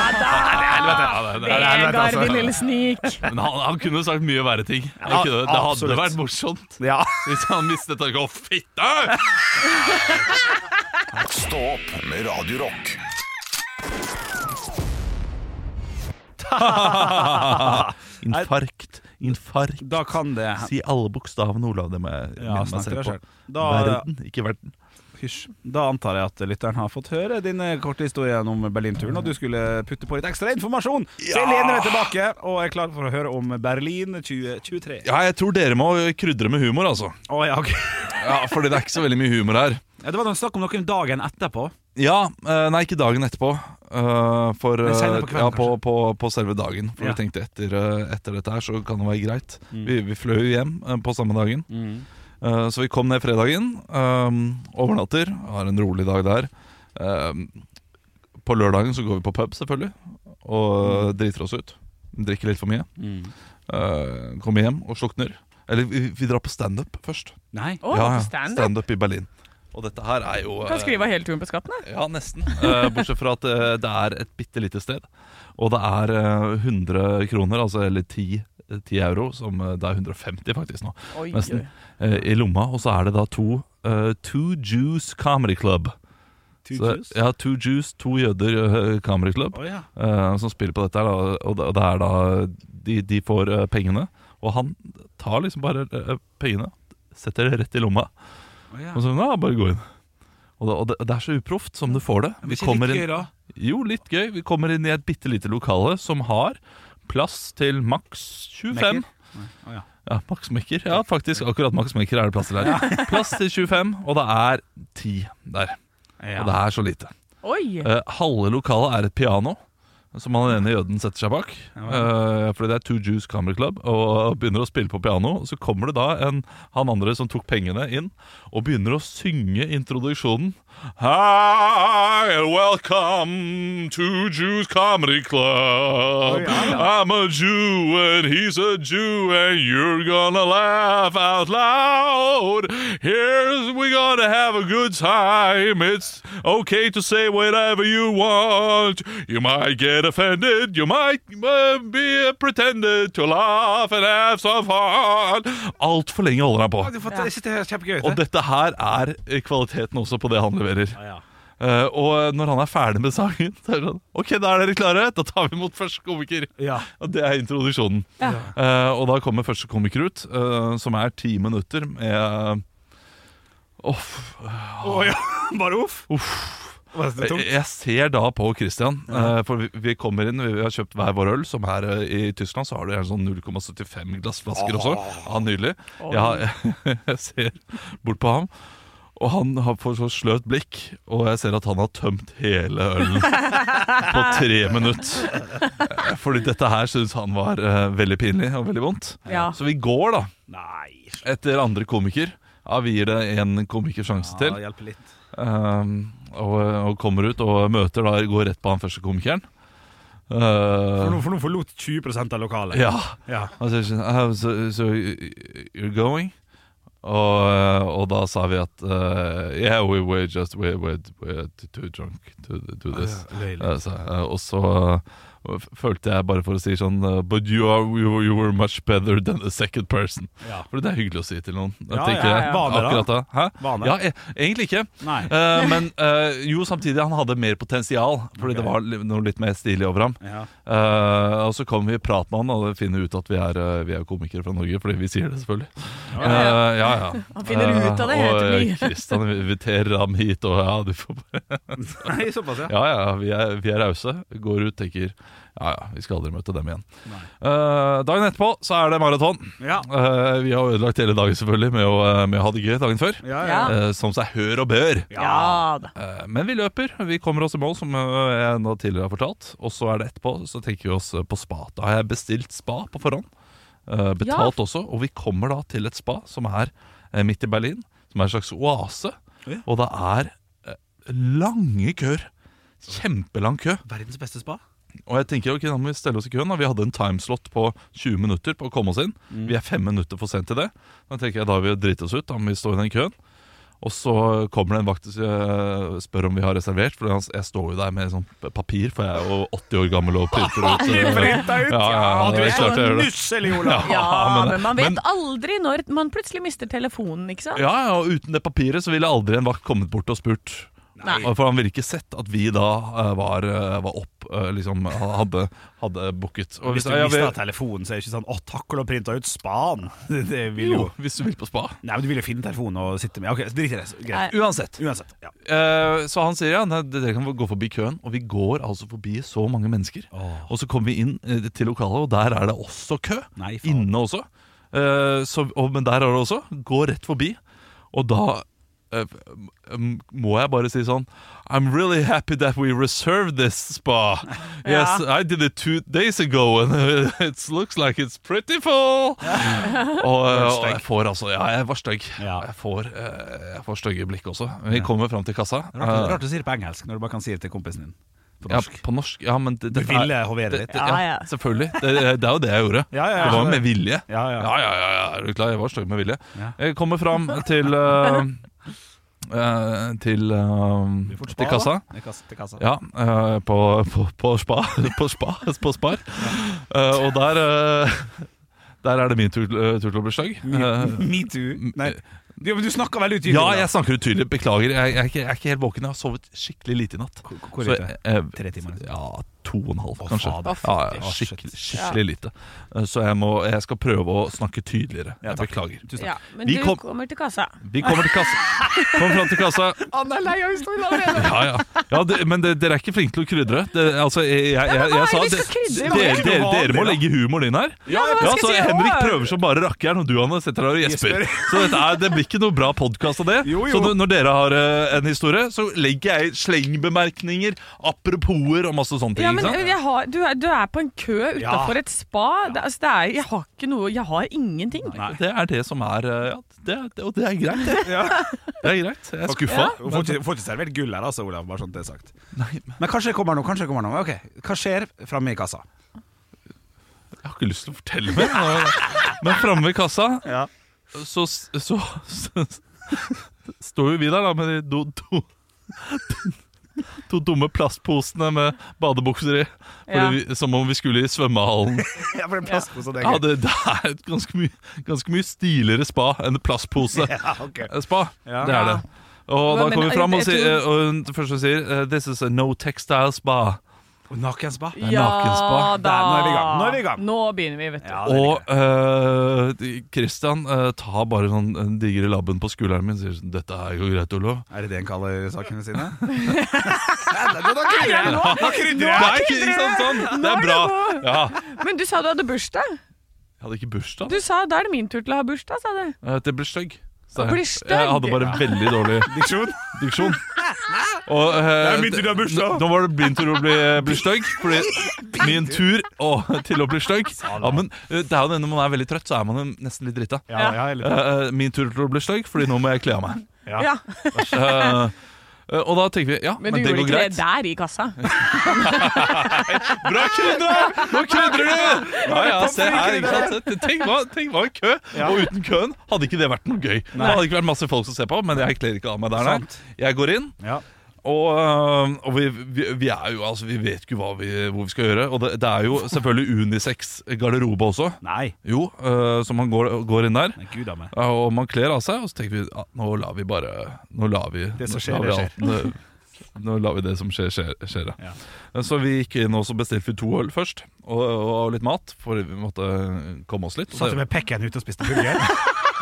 Speaker 3: Ja, det- det- det-
Speaker 4: Vegard, din lille snik.
Speaker 3: Men han, han kunne sagt mye verre ting. Han
Speaker 8: Ja,
Speaker 3: kunne, det hadde
Speaker 8: absolutt.
Speaker 3: vært morsomt
Speaker 8: Ja.
Speaker 3: hvis han mistet taket. Å, fitte!
Speaker 1: Stå opp med Radio Rock.
Speaker 3: Infarkt. Infarkt.
Speaker 2: Da kan det
Speaker 3: Si alle bokstavene, Olav. Det må jeg
Speaker 2: Ja,
Speaker 3: minne meg
Speaker 2: snakk til
Speaker 3: selv
Speaker 2: deg
Speaker 3: på.
Speaker 2: selv. Da-
Speaker 3: verden, ikke verden.
Speaker 2: Hysj. Da antar jeg at lytteren har fått høre din eh, korte historie om Berlinturen, og du skulle putte på litt ekstra informasjon. Så jeg lener meg tilbake og er klar for å høre om Berlin 2023.
Speaker 3: Ja, jeg tror dere må krydre med humor, altså.
Speaker 2: Å, ja, ok.
Speaker 3: Ja, Fordi det er ikke så veldig mye humor her.
Speaker 2: ja, det var noen snakk om noen dagen etterpå.
Speaker 3: Ja, eh, nei, ikke dagen etterpå. eh, For eh,
Speaker 2: Men senere på kvelden,
Speaker 3: ja, på, på, på selve dagen. For
Speaker 2: Ja. Mm.
Speaker 3: vi tenkte etter, eh, etter dette her så kan det være greit. Vi, vi fløy jo hjem eh, på samme dagen. Eh, Så vi kom ned fredagen. eh, Overnatter. Har en rolig dag der. Eh, På lørdagen så går vi på pub, selvfølgelig.
Speaker 2: Mm.
Speaker 3: Og driter oss ut. Drikker litt for mye.
Speaker 8: Mm.
Speaker 3: Eh, Kommer hjem og slukner. Eller vi, vi drar på standup først.
Speaker 2: Nei.
Speaker 4: Å, standup.
Speaker 3: Standup i Berlin. Og dette her er jo
Speaker 4: Kan
Speaker 3: eh,
Speaker 4: skrive av hele turen på skatten, da.
Speaker 3: ja, nesten. Eh, bortsett fra at eh, det er et bitte lite sted. Og det er eh, 100 kroner, altså eller 10, 10 euro, som eh, det er 150 faktisk nå,
Speaker 4: Oi,
Speaker 3: nesten,
Speaker 4: oi.
Speaker 3: eh, i lomma. Og så er det da to eh, Two Jews Comedy Club.
Speaker 2: Two
Speaker 3: Så-
Speaker 2: Jews?
Speaker 3: Ja, Two Jews, to jøder eh, comedy club,
Speaker 2: Å, ja.
Speaker 3: eh, som spiller på dette her. Da, og, det- og det er da De, de får eh, pengene, og han tar liksom bare eh, pengene, setter det rett i lomma.
Speaker 2: Å, ja.
Speaker 3: Og så, ja, bare gå inn og det, og det, det er så uproft som du får det
Speaker 2: Men
Speaker 3: Vi
Speaker 2: ikke
Speaker 3: kommer
Speaker 2: litt
Speaker 3: inn-
Speaker 2: gøy da?
Speaker 3: Jo, litt gøy Vi kommer inn i et bittelite lokale Som har plass til maks 25
Speaker 2: Mekker? Nei. Å, ja.
Speaker 3: Ja, maks mekker Ja, faktisk, akkurat maks mekker er det plass til her Plass til 25, og det er 10 der Og det
Speaker 2: Ja.
Speaker 3: er så lite
Speaker 4: Oi.
Speaker 3: Eh, Halve lokalet er et piano som han ene jøden setter seg bak. Eh, fordi det er Two Jews Comedy Club, og begynner å spille på piano. Så kommer det da en, han andre som tok pengene, inn og begynner å synge introduksjonen. Hi, and welcome to Jews Comedy Club. I'm a Jew, and he's a Jew, and you're gonna laugh out loud. Here's we gonna have a good time. It's okay to say whatever you want. You might get offended. You might uh, be pretended to laugh and have some fun. Altfor lenge holder han på.
Speaker 2: Du får ta- Jeg synes det høres kjempegøy ut.
Speaker 3: Og dette her er kvaliteten også på det han leverer. Eh, og når han er ferdig med sangen, så er det sånn OK, da er dere klare? Da tar vi imot første komiker.
Speaker 2: Ja.
Speaker 3: Og det er introduksjonen. Eh, og da kommer første komiker ut, eh, som er ti minutter med eh, Uff.
Speaker 8: Å, ja. Bare uff. Var det tungt?
Speaker 3: Eh, Jeg, jeg ser da på Christian, eh, for vi, vi kommer inn, vi har kjøpt hver vår øl, som her eh, i Tyskland så har de en sånn 0,75 glassflasker også. Ja, nydelig. Jeg, har- jeg ser bort på ham, og han har får så sløvt blikk, og jeg ser at han har tømt hele ølen på tre minutter. Eh, Fordi dette her synes han var eh, veldig pinlig og veldig vondt.
Speaker 4: Ja.
Speaker 3: Så vi går da,
Speaker 2: Nei.
Speaker 3: etter andre komiker. Ja, vi gir det en komiker sjanse til.
Speaker 2: Ja, hjelper litt.
Speaker 3: Ehm, og, og kommer ut og møter da går rett på han første komikeren.
Speaker 8: For
Speaker 3: Uh,
Speaker 8: nå- For nå forlot 20 av lokalet.
Speaker 3: Eh, ja.
Speaker 8: Ja.
Speaker 3: Han sier sånn «Ah, so, so you're going? Og, eh, og da sa vi at eh, Yeah, we were just we were, we're too drunk to
Speaker 8: Ah,
Speaker 3: do this.
Speaker 8: Løy litt.
Speaker 3: Eh, så, eh, og så eh, f- følte jeg bare for å si sånn eh, But you, are, you, were- you were much better than the second person.
Speaker 8: Ja.
Speaker 3: For det er hyggelig å si til noen.
Speaker 8: Ja,
Speaker 3: tenker
Speaker 8: ja,
Speaker 3: jeg.
Speaker 8: ja. Vane, da.
Speaker 3: Akkurat da. Hæ?
Speaker 8: Vane.
Speaker 3: Ja, e egentlig ikke.
Speaker 8: Nei.
Speaker 3: Eh, men eh, jo, samtidig, han hadde mer potensial, fordi det var li- noe litt mer stilig over ham.
Speaker 2: Ja.
Speaker 3: Eh, og så kom vi i prat med han og finner ut at vi er, eh, vi er komikere fra Norge, fordi vi sier det selvfølgelig. Eh, ja, ja.
Speaker 4: Han finner ut av det
Speaker 3: Eh,
Speaker 4: helt
Speaker 3: og,
Speaker 4: ny.
Speaker 3: eh, Kristian inviterer ham hit, og ja, du får bare
Speaker 2: Nei, såpass, ja.
Speaker 3: Ja, ja, vi er, vi er rause. Går ut, tenker Ja, ja, vi skal aldri møte dem igjen. Eh, dagen etterpå så er det maraton.
Speaker 8: Ja.
Speaker 3: Eh, vi har ødelagt hele dagen selvfølgelig med å, eh, med å ha det gøy dagen før.
Speaker 8: Ja,
Speaker 4: Ja.
Speaker 3: Eh, som seg hør og bør.
Speaker 4: Ja da.
Speaker 3: Eh, men vi løper. Vi kommer oss i mål, som eh, jeg nå tidligere har fortalt. Og så er det etterpå så tenker vi oss eh, på spa. Da har jeg bestilt spa på forhånd. eh, betalt også. Og vi kommer da til et spa som er eh, midt i Berlin. Som er en slags oase. Og det er eh, lange køer. Kjempelang kø.
Speaker 8: Verdens beste spa.
Speaker 3: Og jeg tenker, ok, da må vi stelle oss i køen da. Vi hadde en timeslot på 20 minutter på å komme oss inn
Speaker 8: Mm.
Speaker 3: Vi er 5 minutter for sent til det Da tenker jeg, da har vi dritt oss ut, da må vi stå i den køen Og så kommer det en vakt og sier- eh, spør om vi har reservert For han- jeg står jo der med sånn papir For jeg er jo 80 år gammel og printer ut
Speaker 8: Du
Speaker 3: eh,
Speaker 8: bretta ut!
Speaker 3: Ja, ja,
Speaker 8: du
Speaker 3: det er
Speaker 8: er
Speaker 3: klart jeg
Speaker 8: så
Speaker 3: gjør det.
Speaker 8: nusselig, Olav.
Speaker 4: Ja,
Speaker 3: men-
Speaker 4: men man vet
Speaker 3: men-
Speaker 4: aldri når man plutselig mister telefonen, ikke sant?
Speaker 3: Ja, ja, og uten det papiret så ville aldri en vakt kommet bort og spurt
Speaker 4: Nei.
Speaker 3: Og For han ville ikke sett at vi da eh, var, eh, var opp eh, Liksom hadde, hadde booket Og
Speaker 8: Hvis du
Speaker 3: jeg-
Speaker 8: mister
Speaker 3: jeg vil-
Speaker 8: telefonen, så er det ikke sånn 'Å, takk, Olav printa ut spaen'. Det, det vil jo
Speaker 3: Jo, hvis du vil på spa
Speaker 8: Nei, men du vil jo finne telefonen og sitte med. Ok, Drit i det. Greit.
Speaker 3: Uansett
Speaker 8: Uansett. Ja.
Speaker 3: Eh, Så han sier ja, nei, dere kan gå forbi køen Og vi går altså forbi så mange mennesker Og så kommer vi inn eh, til lokalet Og der er det også kø
Speaker 8: Nei, faen.
Speaker 3: Inne også Eh, så, og, Men der er det også Gå rett forbi Og da eh, m- må jeg bare si sånn I'm really happy that we reserved this spa Yes, I did it two days ago And it looks like it's pretty full og, og jeg får altså Ja, jeg var stygg.
Speaker 8: Ja.
Speaker 3: Jeg får, eh, jeg får stygge blikk også. Vi kommer fram til kassa.
Speaker 8: Rart,
Speaker 3: Eh,
Speaker 8: rart du sier det på engelsk når du bare kan si det til kompisen din på
Speaker 3: ja,
Speaker 8: norsk.
Speaker 3: på norsk. Ja, men det,
Speaker 8: Du
Speaker 3: dette er-
Speaker 8: ville hovere
Speaker 3: det,
Speaker 8: litt.
Speaker 3: det,
Speaker 4: Ja,
Speaker 3: ja,
Speaker 4: ja.
Speaker 3: selvfølgelig. Det, det er jo det jeg gjorde.
Speaker 8: Ja, ja, ja.
Speaker 3: Det var med vilje.
Speaker 8: Ja, ja.
Speaker 3: ja, ja, ja, ja. Er du klar? Jeg var stygg med vilje.
Speaker 8: Ja.
Speaker 3: Jeg kommer fram til eh, eh, til, eh,
Speaker 8: Fort spa,
Speaker 3: til kassa.
Speaker 8: da. Til kassa. Til kassa.
Speaker 3: Ja, eh, på, på, på spa På spa, på spar Eh, Og der eh, Der er det min tur, eh, tur til å bli stygg Eh,
Speaker 8: Metoo. Nei, du, men du snakka veldig utydelig.
Speaker 3: Ja,
Speaker 8: da.
Speaker 3: jeg snakker utydelig. Beklager. Jeg, jeg, er ikke, jeg er ikke helt våken. Jeg har sovet skikkelig lite i natt.
Speaker 8: Hvor- Hvor
Speaker 3: Så,
Speaker 8: er det?
Speaker 3: eh,
Speaker 8: Tre timer, liksom.
Speaker 3: Ja, to og en halv, kanskje.
Speaker 8: fader.
Speaker 3: Ja, ja, skikkelig skikkelig lite. Eh, Så jeg, må, jeg skal prøve å snakke tydeligere. Jeg beklager.
Speaker 4: Ja, men
Speaker 3: Vi
Speaker 4: du
Speaker 3: kom-
Speaker 4: kommer til kassa.
Speaker 3: Vi kommer til kassa. Kom fram til kassa.
Speaker 4: Han er lei av historien allerede!
Speaker 3: Ja, ja. ja det, men det, dere er ikke flinke til å krydre. Det, altså, jeg, jeg, jeg, jeg,
Speaker 4: men hva er
Speaker 3: sa
Speaker 4: det vi
Speaker 3: det-
Speaker 4: skal krydre?
Speaker 3: dere,
Speaker 4: Det er
Speaker 3: dere, dere må
Speaker 8: vanlig,
Speaker 3: legge humoren inn her.
Speaker 4: Ja, men hva skal
Speaker 3: så
Speaker 4: jeg si?
Speaker 3: Henrik
Speaker 4: Åh!
Speaker 3: prøver som bare rakkeren, og du Anne, sitter her og gjesper. Så dette er, det blir ikke noe bra podkast av det.
Speaker 8: Jo, jo.
Speaker 3: Så når- når dere har eh, en historie, så legger jeg slengbemerkninger, aproposer og masse sånne ting.
Speaker 4: Ja, men eh,
Speaker 3: ikke sant?
Speaker 4: jeg har, du, er, du er på en kø utafor et spa. Det, altså, det er, jeg har ikke noe Jeg har ingenting.
Speaker 3: Det er det som er eh, ja, det, det, Og det er greit, det. Det er greit. Jeg er skuffa.
Speaker 8: Hun får ikke, får ikke servert gull her, altså, Olav. Bare sånn det er sagt. men kanskje det kommer noe. Kanskje det kommer noe. Ok, Hva skjer framme i kassa?
Speaker 3: Jeg har ikke lyst til å fortelle mer. nå. Men framme ved kassa,
Speaker 8: Ja.
Speaker 3: så, så, så står jo vi der da med de do, do, to dumme plastposene med badebukser i.
Speaker 4: Ja.
Speaker 3: fordi Vi, som om vi skulle i svømmehallen.
Speaker 8: Ja, for det er plastpose, det er
Speaker 3: Ja,
Speaker 8: gøy.
Speaker 3: det, det er et ganske mye, ganske mye stiligere spa enn en plastpose.
Speaker 8: Ja, ok.
Speaker 3: Spa,
Speaker 8: Ja.
Speaker 3: det er det. Og
Speaker 4: Ja,
Speaker 3: da
Speaker 4: men
Speaker 3: kommer vi fram og
Speaker 4: jeg- jeg
Speaker 3: sier,
Speaker 4: tror-
Speaker 3: eh, og hun først sier eh, This is a no textile spa.
Speaker 8: Og Nakenspa.
Speaker 3: nakenspa.
Speaker 4: da.
Speaker 8: Der, nå er vi i gang. Nå er vi i gang.
Speaker 4: Nå begynner vi, vet du.
Speaker 8: Ja, det
Speaker 3: Og
Speaker 8: liker jeg.
Speaker 3: eh, de- Christian eh, tar bare sånn den digre labben på skulderen min og sier sånn Dette her går greit, Olav.
Speaker 8: Er det det en kaller sakene sine? Nå krydrer
Speaker 4: nå-
Speaker 8: jeg!
Speaker 3: Nei, ikke, ikke sant, sånn. Det
Speaker 4: Nå
Speaker 3: er
Speaker 4: er
Speaker 3: bra!
Speaker 4: det
Speaker 3: Ja.
Speaker 4: Men du sa du hadde bursdag.
Speaker 3: Jeg hadde ikke bursdag.
Speaker 4: Du sa da er det min tur til å ha bursdag, sa du.
Speaker 3: Eh, Det ble stygg. sa
Speaker 4: Det
Speaker 3: jeg.
Speaker 4: blir stygg.
Speaker 3: Jeg hadde bare veldig dårlig
Speaker 8: Diksjon.
Speaker 3: diksjon. Og, eh,
Speaker 8: Det er min tur til å ha bursdag.
Speaker 3: Nå var det min tur å bli, eh, bli stygg. Fordi min tur å, til å bli stygg ja, men, eh, Det er jo det når man er veldig trøtt, så er man jo nesten litt drita.
Speaker 8: Ja, ja, jeg er litt-
Speaker 3: Eh, eh, min tur til å bli stygg, fordi nå må jeg kle av meg.
Speaker 8: Ja.
Speaker 4: Ja.
Speaker 3: Eh, eh, og da tenker vi ja, men,
Speaker 4: Men du
Speaker 3: det
Speaker 4: gjorde
Speaker 3: går
Speaker 4: ikke
Speaker 3: greit.
Speaker 4: det der i kassa.
Speaker 3: Bra krydder! Nå krydrer du! Ja, ja, se her, ikke sant? Tenk hva, tenk hva en kø. Og uten køen hadde ikke det vært noe gøy. Det hadde ikke vært masse folk som ser på, men jeg kler ikke av meg der. nei.
Speaker 8: Sant.
Speaker 3: Jeg går inn,
Speaker 8: Ja.
Speaker 3: og, øh, og vi, vi, vi er jo Altså, vi vet ikke hva vi, hvor vi skal gjøre. Og det, det er jo selvfølgelig unisex garderobe også.
Speaker 8: Nei.
Speaker 3: Jo, øh, så man går, går inn der.
Speaker 8: Nei, gud a meg.
Speaker 3: Ja, Og man kler av seg, og så tenker vi ja, nå lar vi bare Nå lar vi
Speaker 8: Det som
Speaker 3: nå
Speaker 8: skjer,
Speaker 3: lar vi
Speaker 8: det
Speaker 3: alt- nå- Nå lar vi det som skjer, skjer. skjer ja. Så vi gikk inn og så bestilte vi to øl først, og, og litt mat, for vi måtte eh, komme oss litt. Og
Speaker 8: Satt du
Speaker 3: det-
Speaker 8: med pekken ute og spiste burger?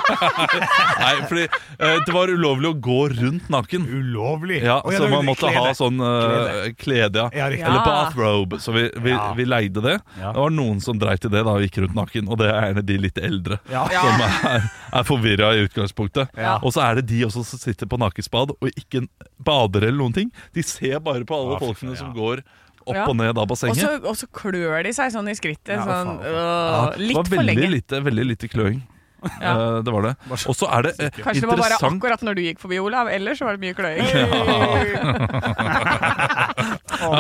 Speaker 3: Nei, fordi eh, det var ulovlig å gå rundt naken.
Speaker 2: Ulovlig.
Speaker 3: Ja,
Speaker 2: Å, ja,
Speaker 3: så
Speaker 2: det er
Speaker 3: man måtte
Speaker 2: klede.
Speaker 3: ha sånn eh, klede, ja.
Speaker 2: Ja, riktig.
Speaker 3: Eller
Speaker 4: Ja.
Speaker 3: bathrobe. Så vi, vi,
Speaker 2: Ja.
Speaker 3: vi leide det.
Speaker 2: Ja.
Speaker 3: Det var noen som dreit i det da og gikk rundt naken, og det er gjerne de litt eldre.
Speaker 2: Ja.
Speaker 3: Som er, er forvirra i utgangspunktet.
Speaker 2: Ja.
Speaker 3: Og så er det de også som sitter på nakenspad og ikke bader eller noen ting. De ser bare på alle
Speaker 2: Ja, fy
Speaker 3: folkene
Speaker 2: faen,
Speaker 3: som
Speaker 2: ja.
Speaker 3: går opp
Speaker 4: Ja.
Speaker 3: og ned av
Speaker 4: Og
Speaker 3: bassenget.
Speaker 4: så, og så klør de seg sånn i skrittet.
Speaker 2: Ja,
Speaker 4: sånn,
Speaker 2: faen, faen.
Speaker 4: øh,
Speaker 3: det var
Speaker 4: litt for
Speaker 3: veldig
Speaker 4: lenge.
Speaker 3: Lite, veldig lite kløing.
Speaker 4: Ja.
Speaker 3: Eh, det var det. Og så er det eh,
Speaker 4: Kanskje det var bare
Speaker 3: interessant
Speaker 4: akkurat når du gikk forbi, Olav. Ellers så var det mye kløing.
Speaker 3: ja,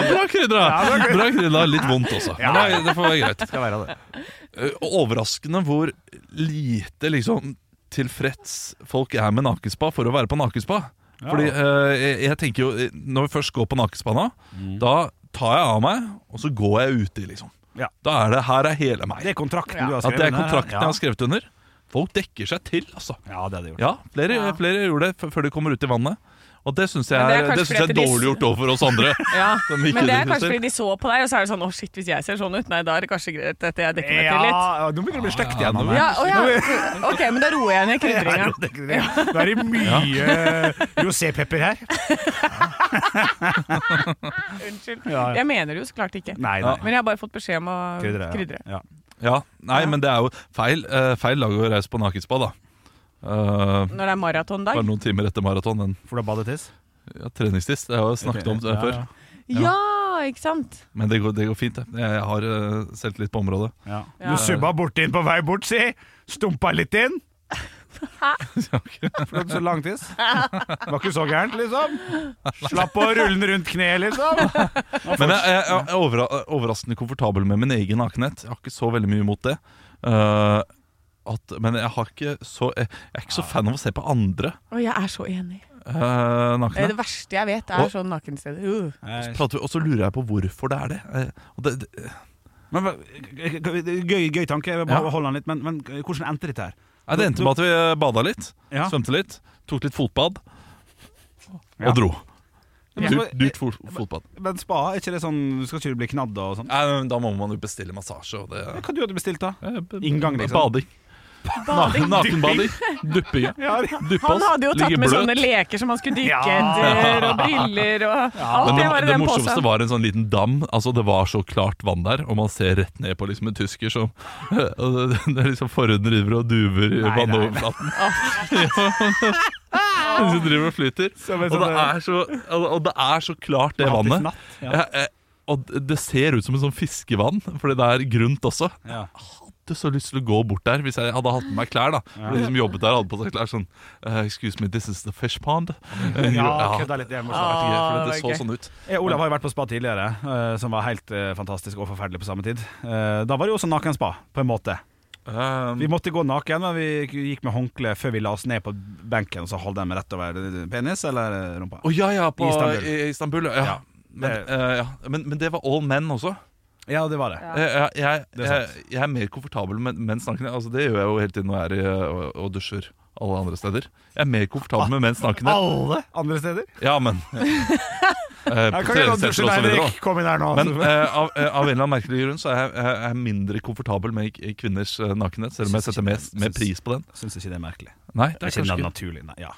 Speaker 3: Bra krydra! Bra krydra, Litt vondt også. Men det, det får være greit.
Speaker 2: Skal være det.
Speaker 3: Eh, Overraskende hvor lite liksom tilfreds folk er med nakenspa for å være på nakenspa. Fordi eh, jeg, jeg tenker jo eh, Når vi først går på nakenspa nå,
Speaker 2: Mm.
Speaker 3: da tar jeg av meg, og så går jeg uti, liksom.
Speaker 2: Ja.
Speaker 3: Da er det Her er hele meg.
Speaker 2: Det er kontrakten
Speaker 4: Ja.
Speaker 2: du har
Speaker 3: At
Speaker 2: skrevet
Speaker 3: det er
Speaker 2: under,
Speaker 3: kontrakten
Speaker 2: ja.
Speaker 3: jeg har skrevet under. Folk dekker seg til, altså.
Speaker 2: Ja, det er det gjort.
Speaker 3: Ja, flere,
Speaker 4: Ja.
Speaker 3: flere gjorde det f- før de kommer ut i vannet. Og det syns jeg
Speaker 4: Men det er
Speaker 3: er,
Speaker 4: kanskje
Speaker 3: det synes jeg er
Speaker 4: fordi at de-
Speaker 3: dårlig gjort overfor oss andre.
Speaker 4: Ja.
Speaker 3: Som ikke
Speaker 4: Men det er
Speaker 3: du
Speaker 4: kanskje
Speaker 3: ser.
Speaker 4: fordi de så på deg, og så er det sånn å shit, hvis jeg ser sånn ut, nei, da er det kanskje greit at jeg dekker meg til litt.
Speaker 2: Ja, nå begynner det å bli stygt igjen. Anne.
Speaker 4: Ja, å ja. Ok, men da roer jeg ned krydringa.
Speaker 2: Nå er det mye rosépepper her.
Speaker 4: Unnskyld.
Speaker 2: Ja, ja.
Speaker 4: Jeg mener det jo så klart ikke.
Speaker 2: Nei,
Speaker 3: Ja.
Speaker 2: nei.
Speaker 4: Men jeg har bare fått beskjed om å
Speaker 2: Krydderet, ja.
Speaker 4: krydre.
Speaker 2: Ja.
Speaker 3: Ja, Nei, men det er jo feil, eh, feil lag å reise på nakenspa, da. Eh,
Speaker 4: Når det
Speaker 3: Bare
Speaker 4: er maratondag.
Speaker 3: noen timer etter maraton. Den
Speaker 2: For du har badetiss?
Speaker 3: ja, treningstiss. Det har jeg snakket om
Speaker 2: Ja, ja.
Speaker 3: før.
Speaker 4: Ja, ikke sant?
Speaker 3: Men det går, det går fint. det. Jeg, jeg har eh, selvtillit på området.
Speaker 2: Ja.
Speaker 4: Ja.
Speaker 2: Du subba bort inn på vei bort, si. Stumpa litt inn. For du hadde så lang tiss. Det var ikke så gærent, liksom. Slapp å rulle den rundt kneet, liksom.
Speaker 3: Men jeg, jeg, jeg er overra overraskende komfortabel med min egen nakenhet. Jeg har ikke så veldig mye imot det. Eh, at, men jeg, har ikke så, jeg, jeg er ikke så fan av å se på andre
Speaker 4: Og jeg er så enig.
Speaker 3: uh,
Speaker 4: Det,
Speaker 3: nakne.
Speaker 4: det verste jeg vet,
Speaker 3: Og-
Speaker 4: er sånn nakensteder. Uh.
Speaker 3: Så prater vi- Og så lurer jeg på hvorfor det er det. Eh, og det, det
Speaker 2: Men, hva- gøy, gøy tanke, jeg vil
Speaker 3: Ja.
Speaker 2: bare holde den litt, men, men hvordan endte dette her?
Speaker 3: Nei, det endte med at vi bada litt,
Speaker 2: Ja.
Speaker 3: svømte litt, tok litt fotbad
Speaker 2: Ja.
Speaker 3: og dro.
Speaker 2: Men,
Speaker 3: Dyrt, dyrt fot fotbad.
Speaker 2: men spa, er ikke det sånn Du skal ikke bli knadd og sånn?
Speaker 3: Nei, men da må man jo bestille massasje og det
Speaker 2: Hva du hadde bestilt, da?
Speaker 3: Eh, b-
Speaker 2: Inngang, liksom.
Speaker 3: Bading.
Speaker 4: Bading.
Speaker 3: Na- Nakenbading. Dupping. ja.
Speaker 2: Ja, det-
Speaker 3: Duppe
Speaker 4: Han
Speaker 3: oss,
Speaker 4: hadde jo tatt
Speaker 3: ligge
Speaker 4: med
Speaker 3: bløt.
Speaker 4: sånne leker som han skulle dykke
Speaker 2: Ja.
Speaker 4: etter, og briller og alt
Speaker 3: Men
Speaker 4: det
Speaker 3: det,
Speaker 4: var i
Speaker 3: det
Speaker 4: den
Speaker 3: morsomste
Speaker 4: posen.
Speaker 3: var en sånn liten dam. Altså Det var så klart vann der, og man ser rett ned på liksom en tysker som og det, det er liksom Forhuden driver og duver i
Speaker 2: Nei, nei, nei.
Speaker 3: vannoverflaten. Ja. Som driver og flyter.
Speaker 2: Som en
Speaker 3: Og det
Speaker 2: sånn-
Speaker 3: er så, og og det er så klart, det
Speaker 2: Mattis
Speaker 3: vannet.
Speaker 2: natt, ja.
Speaker 3: Ja, eh, Og d- det ser ut som en sånn fiskevann, fordi det er grunt også.
Speaker 2: Ja.
Speaker 3: hadde så lyst til å gå bort der hvis jeg hadde hatt med meg klær. da For De som jobbet der, hadde på seg klær sånn eh, Excuse me, this is the fish pond. Eh,
Speaker 2: Mm. Ja,
Speaker 3: ja,
Speaker 2: kødda litt. Jeg må
Speaker 3: det
Speaker 2: svare.
Speaker 3: var gøy, for
Speaker 4: Ah,
Speaker 3: det
Speaker 4: det var
Speaker 3: så
Speaker 4: gøy.
Speaker 3: sånn ut.
Speaker 2: Jeg og Olav har jo vært på spa tidligere, eh, som var helt eh, fantastisk og forferdelig på samme tid. Eh, Da var det jo også naken spa, på en måte. Vi
Speaker 3: Um,
Speaker 2: måtte gå naken, men vi gikk med håndkle før vi la oss ned på benken, og så holdt den rett over penis eller rumpa.
Speaker 3: Å ja, ja, på
Speaker 2: Istanbul.
Speaker 3: Istanbul. I, i Istanbul ja.
Speaker 2: Ja,
Speaker 3: Men,
Speaker 2: det-
Speaker 3: eh, ja. Men, men det var all men også.
Speaker 2: Ja, det var det.
Speaker 4: Ja.
Speaker 3: Eh, Jeg, jeg,
Speaker 2: Det er sant.
Speaker 3: jeg, jeg er mer komfortabel med mens nakenhet. Altså, det gjør jeg jo hele tiden når jeg er i, eh, og, og dusjer alle andre steder. Jeg er mer komfortabel med mens nakenhet.
Speaker 2: Alle andre steder?
Speaker 3: Ja, men Eh,
Speaker 2: Jeg
Speaker 3: På
Speaker 2: kan ikke la
Speaker 3: treningssenter
Speaker 2: dusjen,
Speaker 3: og så videre. da.
Speaker 2: Henrik. Kom inn her nå. altså.
Speaker 3: Men eh, av, eh, av en eller annen merkelig grunn så er jeg, jeg er mindre komfortabel med k- kvinners eh, nakenhet, selv om jeg
Speaker 2: Syns
Speaker 3: setter
Speaker 2: ikke-
Speaker 3: mer, mer
Speaker 2: syns-
Speaker 3: pris på den.
Speaker 2: Syns ikke det er merkelig.
Speaker 3: Nei,
Speaker 2: Det er ikke
Speaker 3: kanskje ikke.
Speaker 2: naturlig, nei. Ja.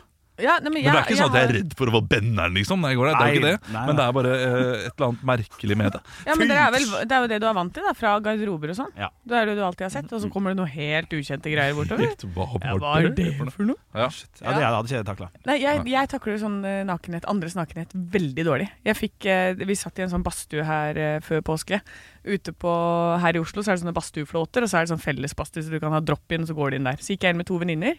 Speaker 4: Ja, nei,
Speaker 3: Men
Speaker 4: men,
Speaker 3: det er
Speaker 4: jeg-
Speaker 3: ikke sånn at jeg er
Speaker 4: har-
Speaker 3: redd for å få benneren, liksom. Nei, går det. det er jo
Speaker 2: Nei,
Speaker 3: ikke det.
Speaker 2: nei, nei.
Speaker 3: Men det er bare eh, et eller annet merkelig med det.
Speaker 4: Ja, men det er, vel, det er jo det du er vant til, da, fra garderober og sånn.
Speaker 2: Ja.
Speaker 4: Det er det du alltid har sett,
Speaker 3: Mm.
Speaker 4: og så kommer det noe helt ukjente greier bortover.
Speaker 3: Likt, hva var
Speaker 4: hva er det for noe?
Speaker 2: ja,
Speaker 3: Ja.
Speaker 2: det hadde ikke jeg takla.
Speaker 4: Nei, jeg, jeg takler sånn eh, nakenhet, andres nakenhet veldig dårlig. Jeg fikk, eh, vi satt i en sånn badstue her eh, før påske. Ute på, her i Oslo så er det sånne badstueflåter, og så er det sånn fellesbadstue, så du kan ha drop-in, og så går du inn der. Så gikk jeg inn med to venninner.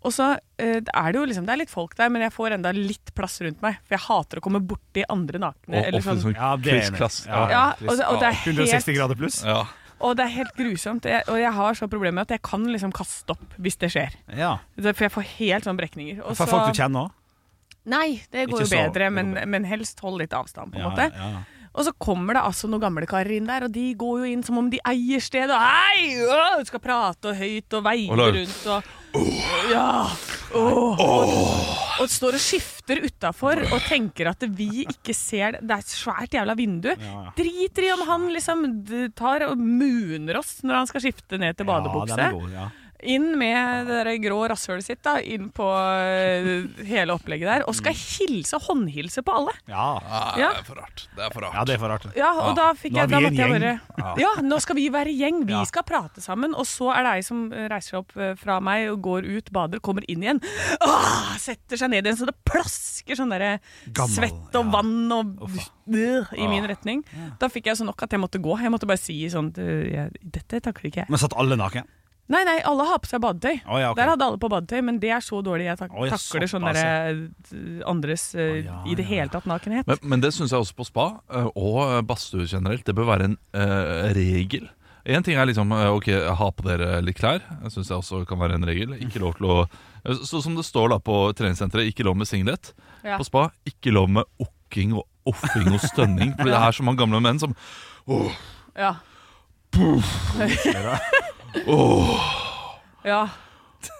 Speaker 4: Og så eh, er det jo liksom, det er litt folk der, men jeg får enda litt plass rundt meg. For jeg hater å komme borti andre
Speaker 3: Og
Speaker 4: nakne. eller
Speaker 3: ofte
Speaker 4: sånn.
Speaker 3: sånn
Speaker 2: Ja, det er enig.
Speaker 3: kryssklass.
Speaker 2: Ja.
Speaker 3: Ja.
Speaker 4: Ja, og, det- og det er helt
Speaker 2: 160 grader pluss?
Speaker 3: Ja.
Speaker 4: Og det er helt grusomt. Jeg, og jeg har så problemer med at jeg kan liksom kaste opp hvis det skjer.
Speaker 2: Ja.
Speaker 4: Det- For jeg får helt sånn brekninger. Og
Speaker 2: For
Speaker 4: så-
Speaker 2: folk du kjenner òg?
Speaker 4: Nei, det går jo
Speaker 2: Ikke så-
Speaker 4: bedre, men,
Speaker 2: det går
Speaker 4: men helst hold litt avstand, på en
Speaker 2: Ja,
Speaker 4: måte.
Speaker 2: ja, ja.
Speaker 4: Og så kommer det altså noen gamle karer inn der, og de går jo inn som om de eier stedet. Og hei! Å, skal prate og høyt og veier
Speaker 3: Og lar-
Speaker 4: rundt og Ja. Åh. Og, og står og skifter utafor og tenker at vi ikke ser det. Det er et svært jævla vindu.
Speaker 2: ja.
Speaker 4: Driter i om han liksom d- tar og muner oss når han skal skifte ned til
Speaker 2: Ja, den
Speaker 4: badebukse.
Speaker 2: er god, ja.
Speaker 4: Inn med det der grå rasshølet sitt da, inn på eh, hele opplegget der. Og skal
Speaker 8: Mm.
Speaker 4: hilse, håndhilse på alle.
Speaker 8: Ja.
Speaker 4: Ja.
Speaker 3: Det er for rart. Det er for
Speaker 8: ja,
Speaker 3: rart.
Speaker 8: det er for rart.
Speaker 4: Ja, og da fikk
Speaker 8: Nå er
Speaker 4: jeg, da
Speaker 8: vi en
Speaker 4: måtte jeg bare
Speaker 8: gjeng. Ja.
Speaker 4: Ja, nå skal vi være gjeng. Vi
Speaker 8: Ja.
Speaker 4: skal prate sammen. Og så er det ei som eh, reiser seg opp eh, fra meg og går ut, bader, kommer inn igjen. Åh, setter seg ned igjen så det plasker sånn derre
Speaker 8: Gammel,
Speaker 4: svett og
Speaker 8: ja. Ah,
Speaker 4: vann og
Speaker 8: Uff,
Speaker 4: øh, i min retning. Da fikk jeg så nok at jeg måtte gå. Jeg måtte bare si sånn «Du, jeg, Dette takler ikke jeg.
Speaker 8: Men satt alle naken?
Speaker 4: Nei, nei, alle har på seg badetøy.
Speaker 8: Å, ja, ok.
Speaker 4: Der hadde alle på badetøy, men det er så dårlig. Jeg tak
Speaker 8: Å, ja,
Speaker 4: takler sånn
Speaker 8: såpass,
Speaker 4: derre eh, andres eh,
Speaker 8: Å, ja,
Speaker 4: i det
Speaker 8: ja,
Speaker 4: hele tatt nakenhet.
Speaker 3: Men, men det syns jeg også på spa, eh, og eh, badstue generelt. Det bør være en eh, regel. Én ting er liksom eh, Ok, ha på dere litt klær. Det syns jeg også kan være en regel. Ikke lov til å eh, Sånn som det står da på treningssenteret, ikke lov med singlet.
Speaker 4: Ja.
Speaker 3: På spa, ikke lov med okking og offing og stønning. Fordi det er så mange gamle menn som
Speaker 4: Ja. ja.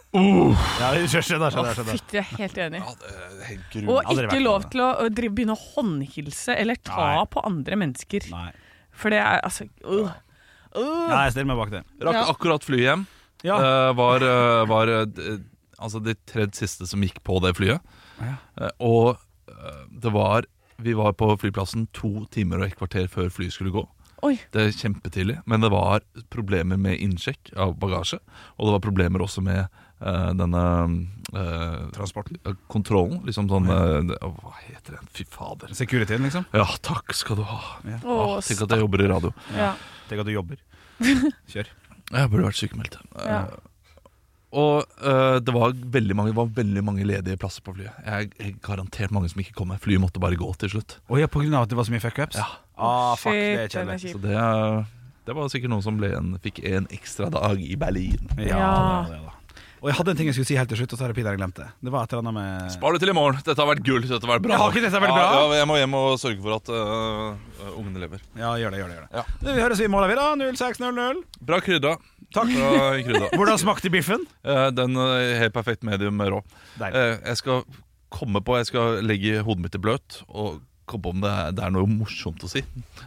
Speaker 8: Ja, jeg skjønner, skjønner, skjønner.
Speaker 4: Fytti, jeg er helt enig.
Speaker 8: Aldri
Speaker 4: Og
Speaker 8: vært
Speaker 4: ikke
Speaker 8: med
Speaker 4: lov
Speaker 8: det.
Speaker 4: til å å drive, begynne å håndhilse eller ta
Speaker 8: Nei.
Speaker 4: på andre mennesker.
Speaker 8: Nei.
Speaker 4: For det er altså øh. Øh.
Speaker 8: Nei, jeg stiller meg bak det.
Speaker 3: rakk
Speaker 4: Ja.
Speaker 3: akkurat flyet hjem.
Speaker 8: Ja.
Speaker 3: Eh, var eh, var eh, d- altså de tredje siste som gikk på det flyet. Eh, og eh, det var Vi var på flyplassen to timer og et kvarter før flyet skulle gå.
Speaker 4: Oi.
Speaker 3: Det er kjempetidlig, men det var problemer med innsjekk av bagasje. Og det var problemer også med eh, denne eh,
Speaker 8: Transporten.
Speaker 3: eh, kontrollen. Liksom sånn eh, det- Hva heter den? Fy fader.
Speaker 8: Securityen, liksom.
Speaker 3: Ja, takk skal du ha.
Speaker 4: Å,
Speaker 3: Ah, tenk at jeg jobber i radio.
Speaker 4: ja.
Speaker 8: Tenk at du jobber. Kjør.
Speaker 3: Jeg burde vært sykemeldt. Eh,
Speaker 4: Ja.
Speaker 3: Og eh, det, var veldig mange, det var veldig mange ledige plasser på flyet. Jeg, jeg garantert mange som ikke kom med. Flyet måtte bare gå til slutt.
Speaker 8: Å ja, på grunn av at det var så mye fuckups?
Speaker 3: Ja.
Speaker 8: Ah, fuck, det er
Speaker 4: Shit, den er
Speaker 8: kjedelig.
Speaker 3: Så
Speaker 4: kjip.
Speaker 3: det, eh, det var sikkert noen som ble en, fikk en ekstra dag i Berlin.
Speaker 8: Ja, det
Speaker 4: Ja.
Speaker 8: var det, da. Og jeg hadde en ting jeg skulle si helt til slutt, og så har jeg pinadø glemt det. Det var et eller annet med
Speaker 3: Spar det til i morgen. Dette har vært gull. Dette har vært bra.
Speaker 8: Jeg har ikke dette vært bra.
Speaker 3: Ja, ja, jeg må hjem og sørge for at øh, øh, ungene lever.
Speaker 8: Ja, gjør det, gjør det. gjør det
Speaker 3: Ja.
Speaker 8: Du, Vi høres vi i morgen, vi, da. 06.00.
Speaker 3: Bra krydda. Takk. Bra krydda.
Speaker 8: Hvordan smakte biffen?
Speaker 3: Eh, Den er helt perfekt medium rå.
Speaker 8: Deilig.
Speaker 3: Eh, Jeg skal komme på Jeg skal legge hodet mitt i bløt og komme på om det er, det er noe morsomt å si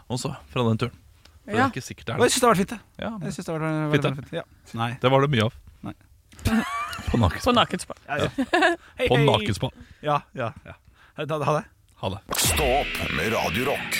Speaker 3: også fra den turen. For Det
Speaker 4: Ja.
Speaker 3: er ikke sikkert det
Speaker 8: Og
Speaker 3: er
Speaker 8: jeg
Speaker 3: det.
Speaker 8: syns det har vært fint, det.
Speaker 3: Ja, men
Speaker 8: Jeg synes det har vært veldig,
Speaker 3: Fint,
Speaker 8: veldig fint. Ja. Nei.
Speaker 3: det var det mye av.
Speaker 8: Nei.
Speaker 3: På
Speaker 4: På
Speaker 3: nakenspa.
Speaker 4: nakenspa.
Speaker 8: Hei,
Speaker 3: På
Speaker 8: hei.
Speaker 3: nakenspa.
Speaker 8: Ja, ja, ja. Ha det. Ha det.
Speaker 3: Ha det.
Speaker 1: Stå opp med Radio Rock.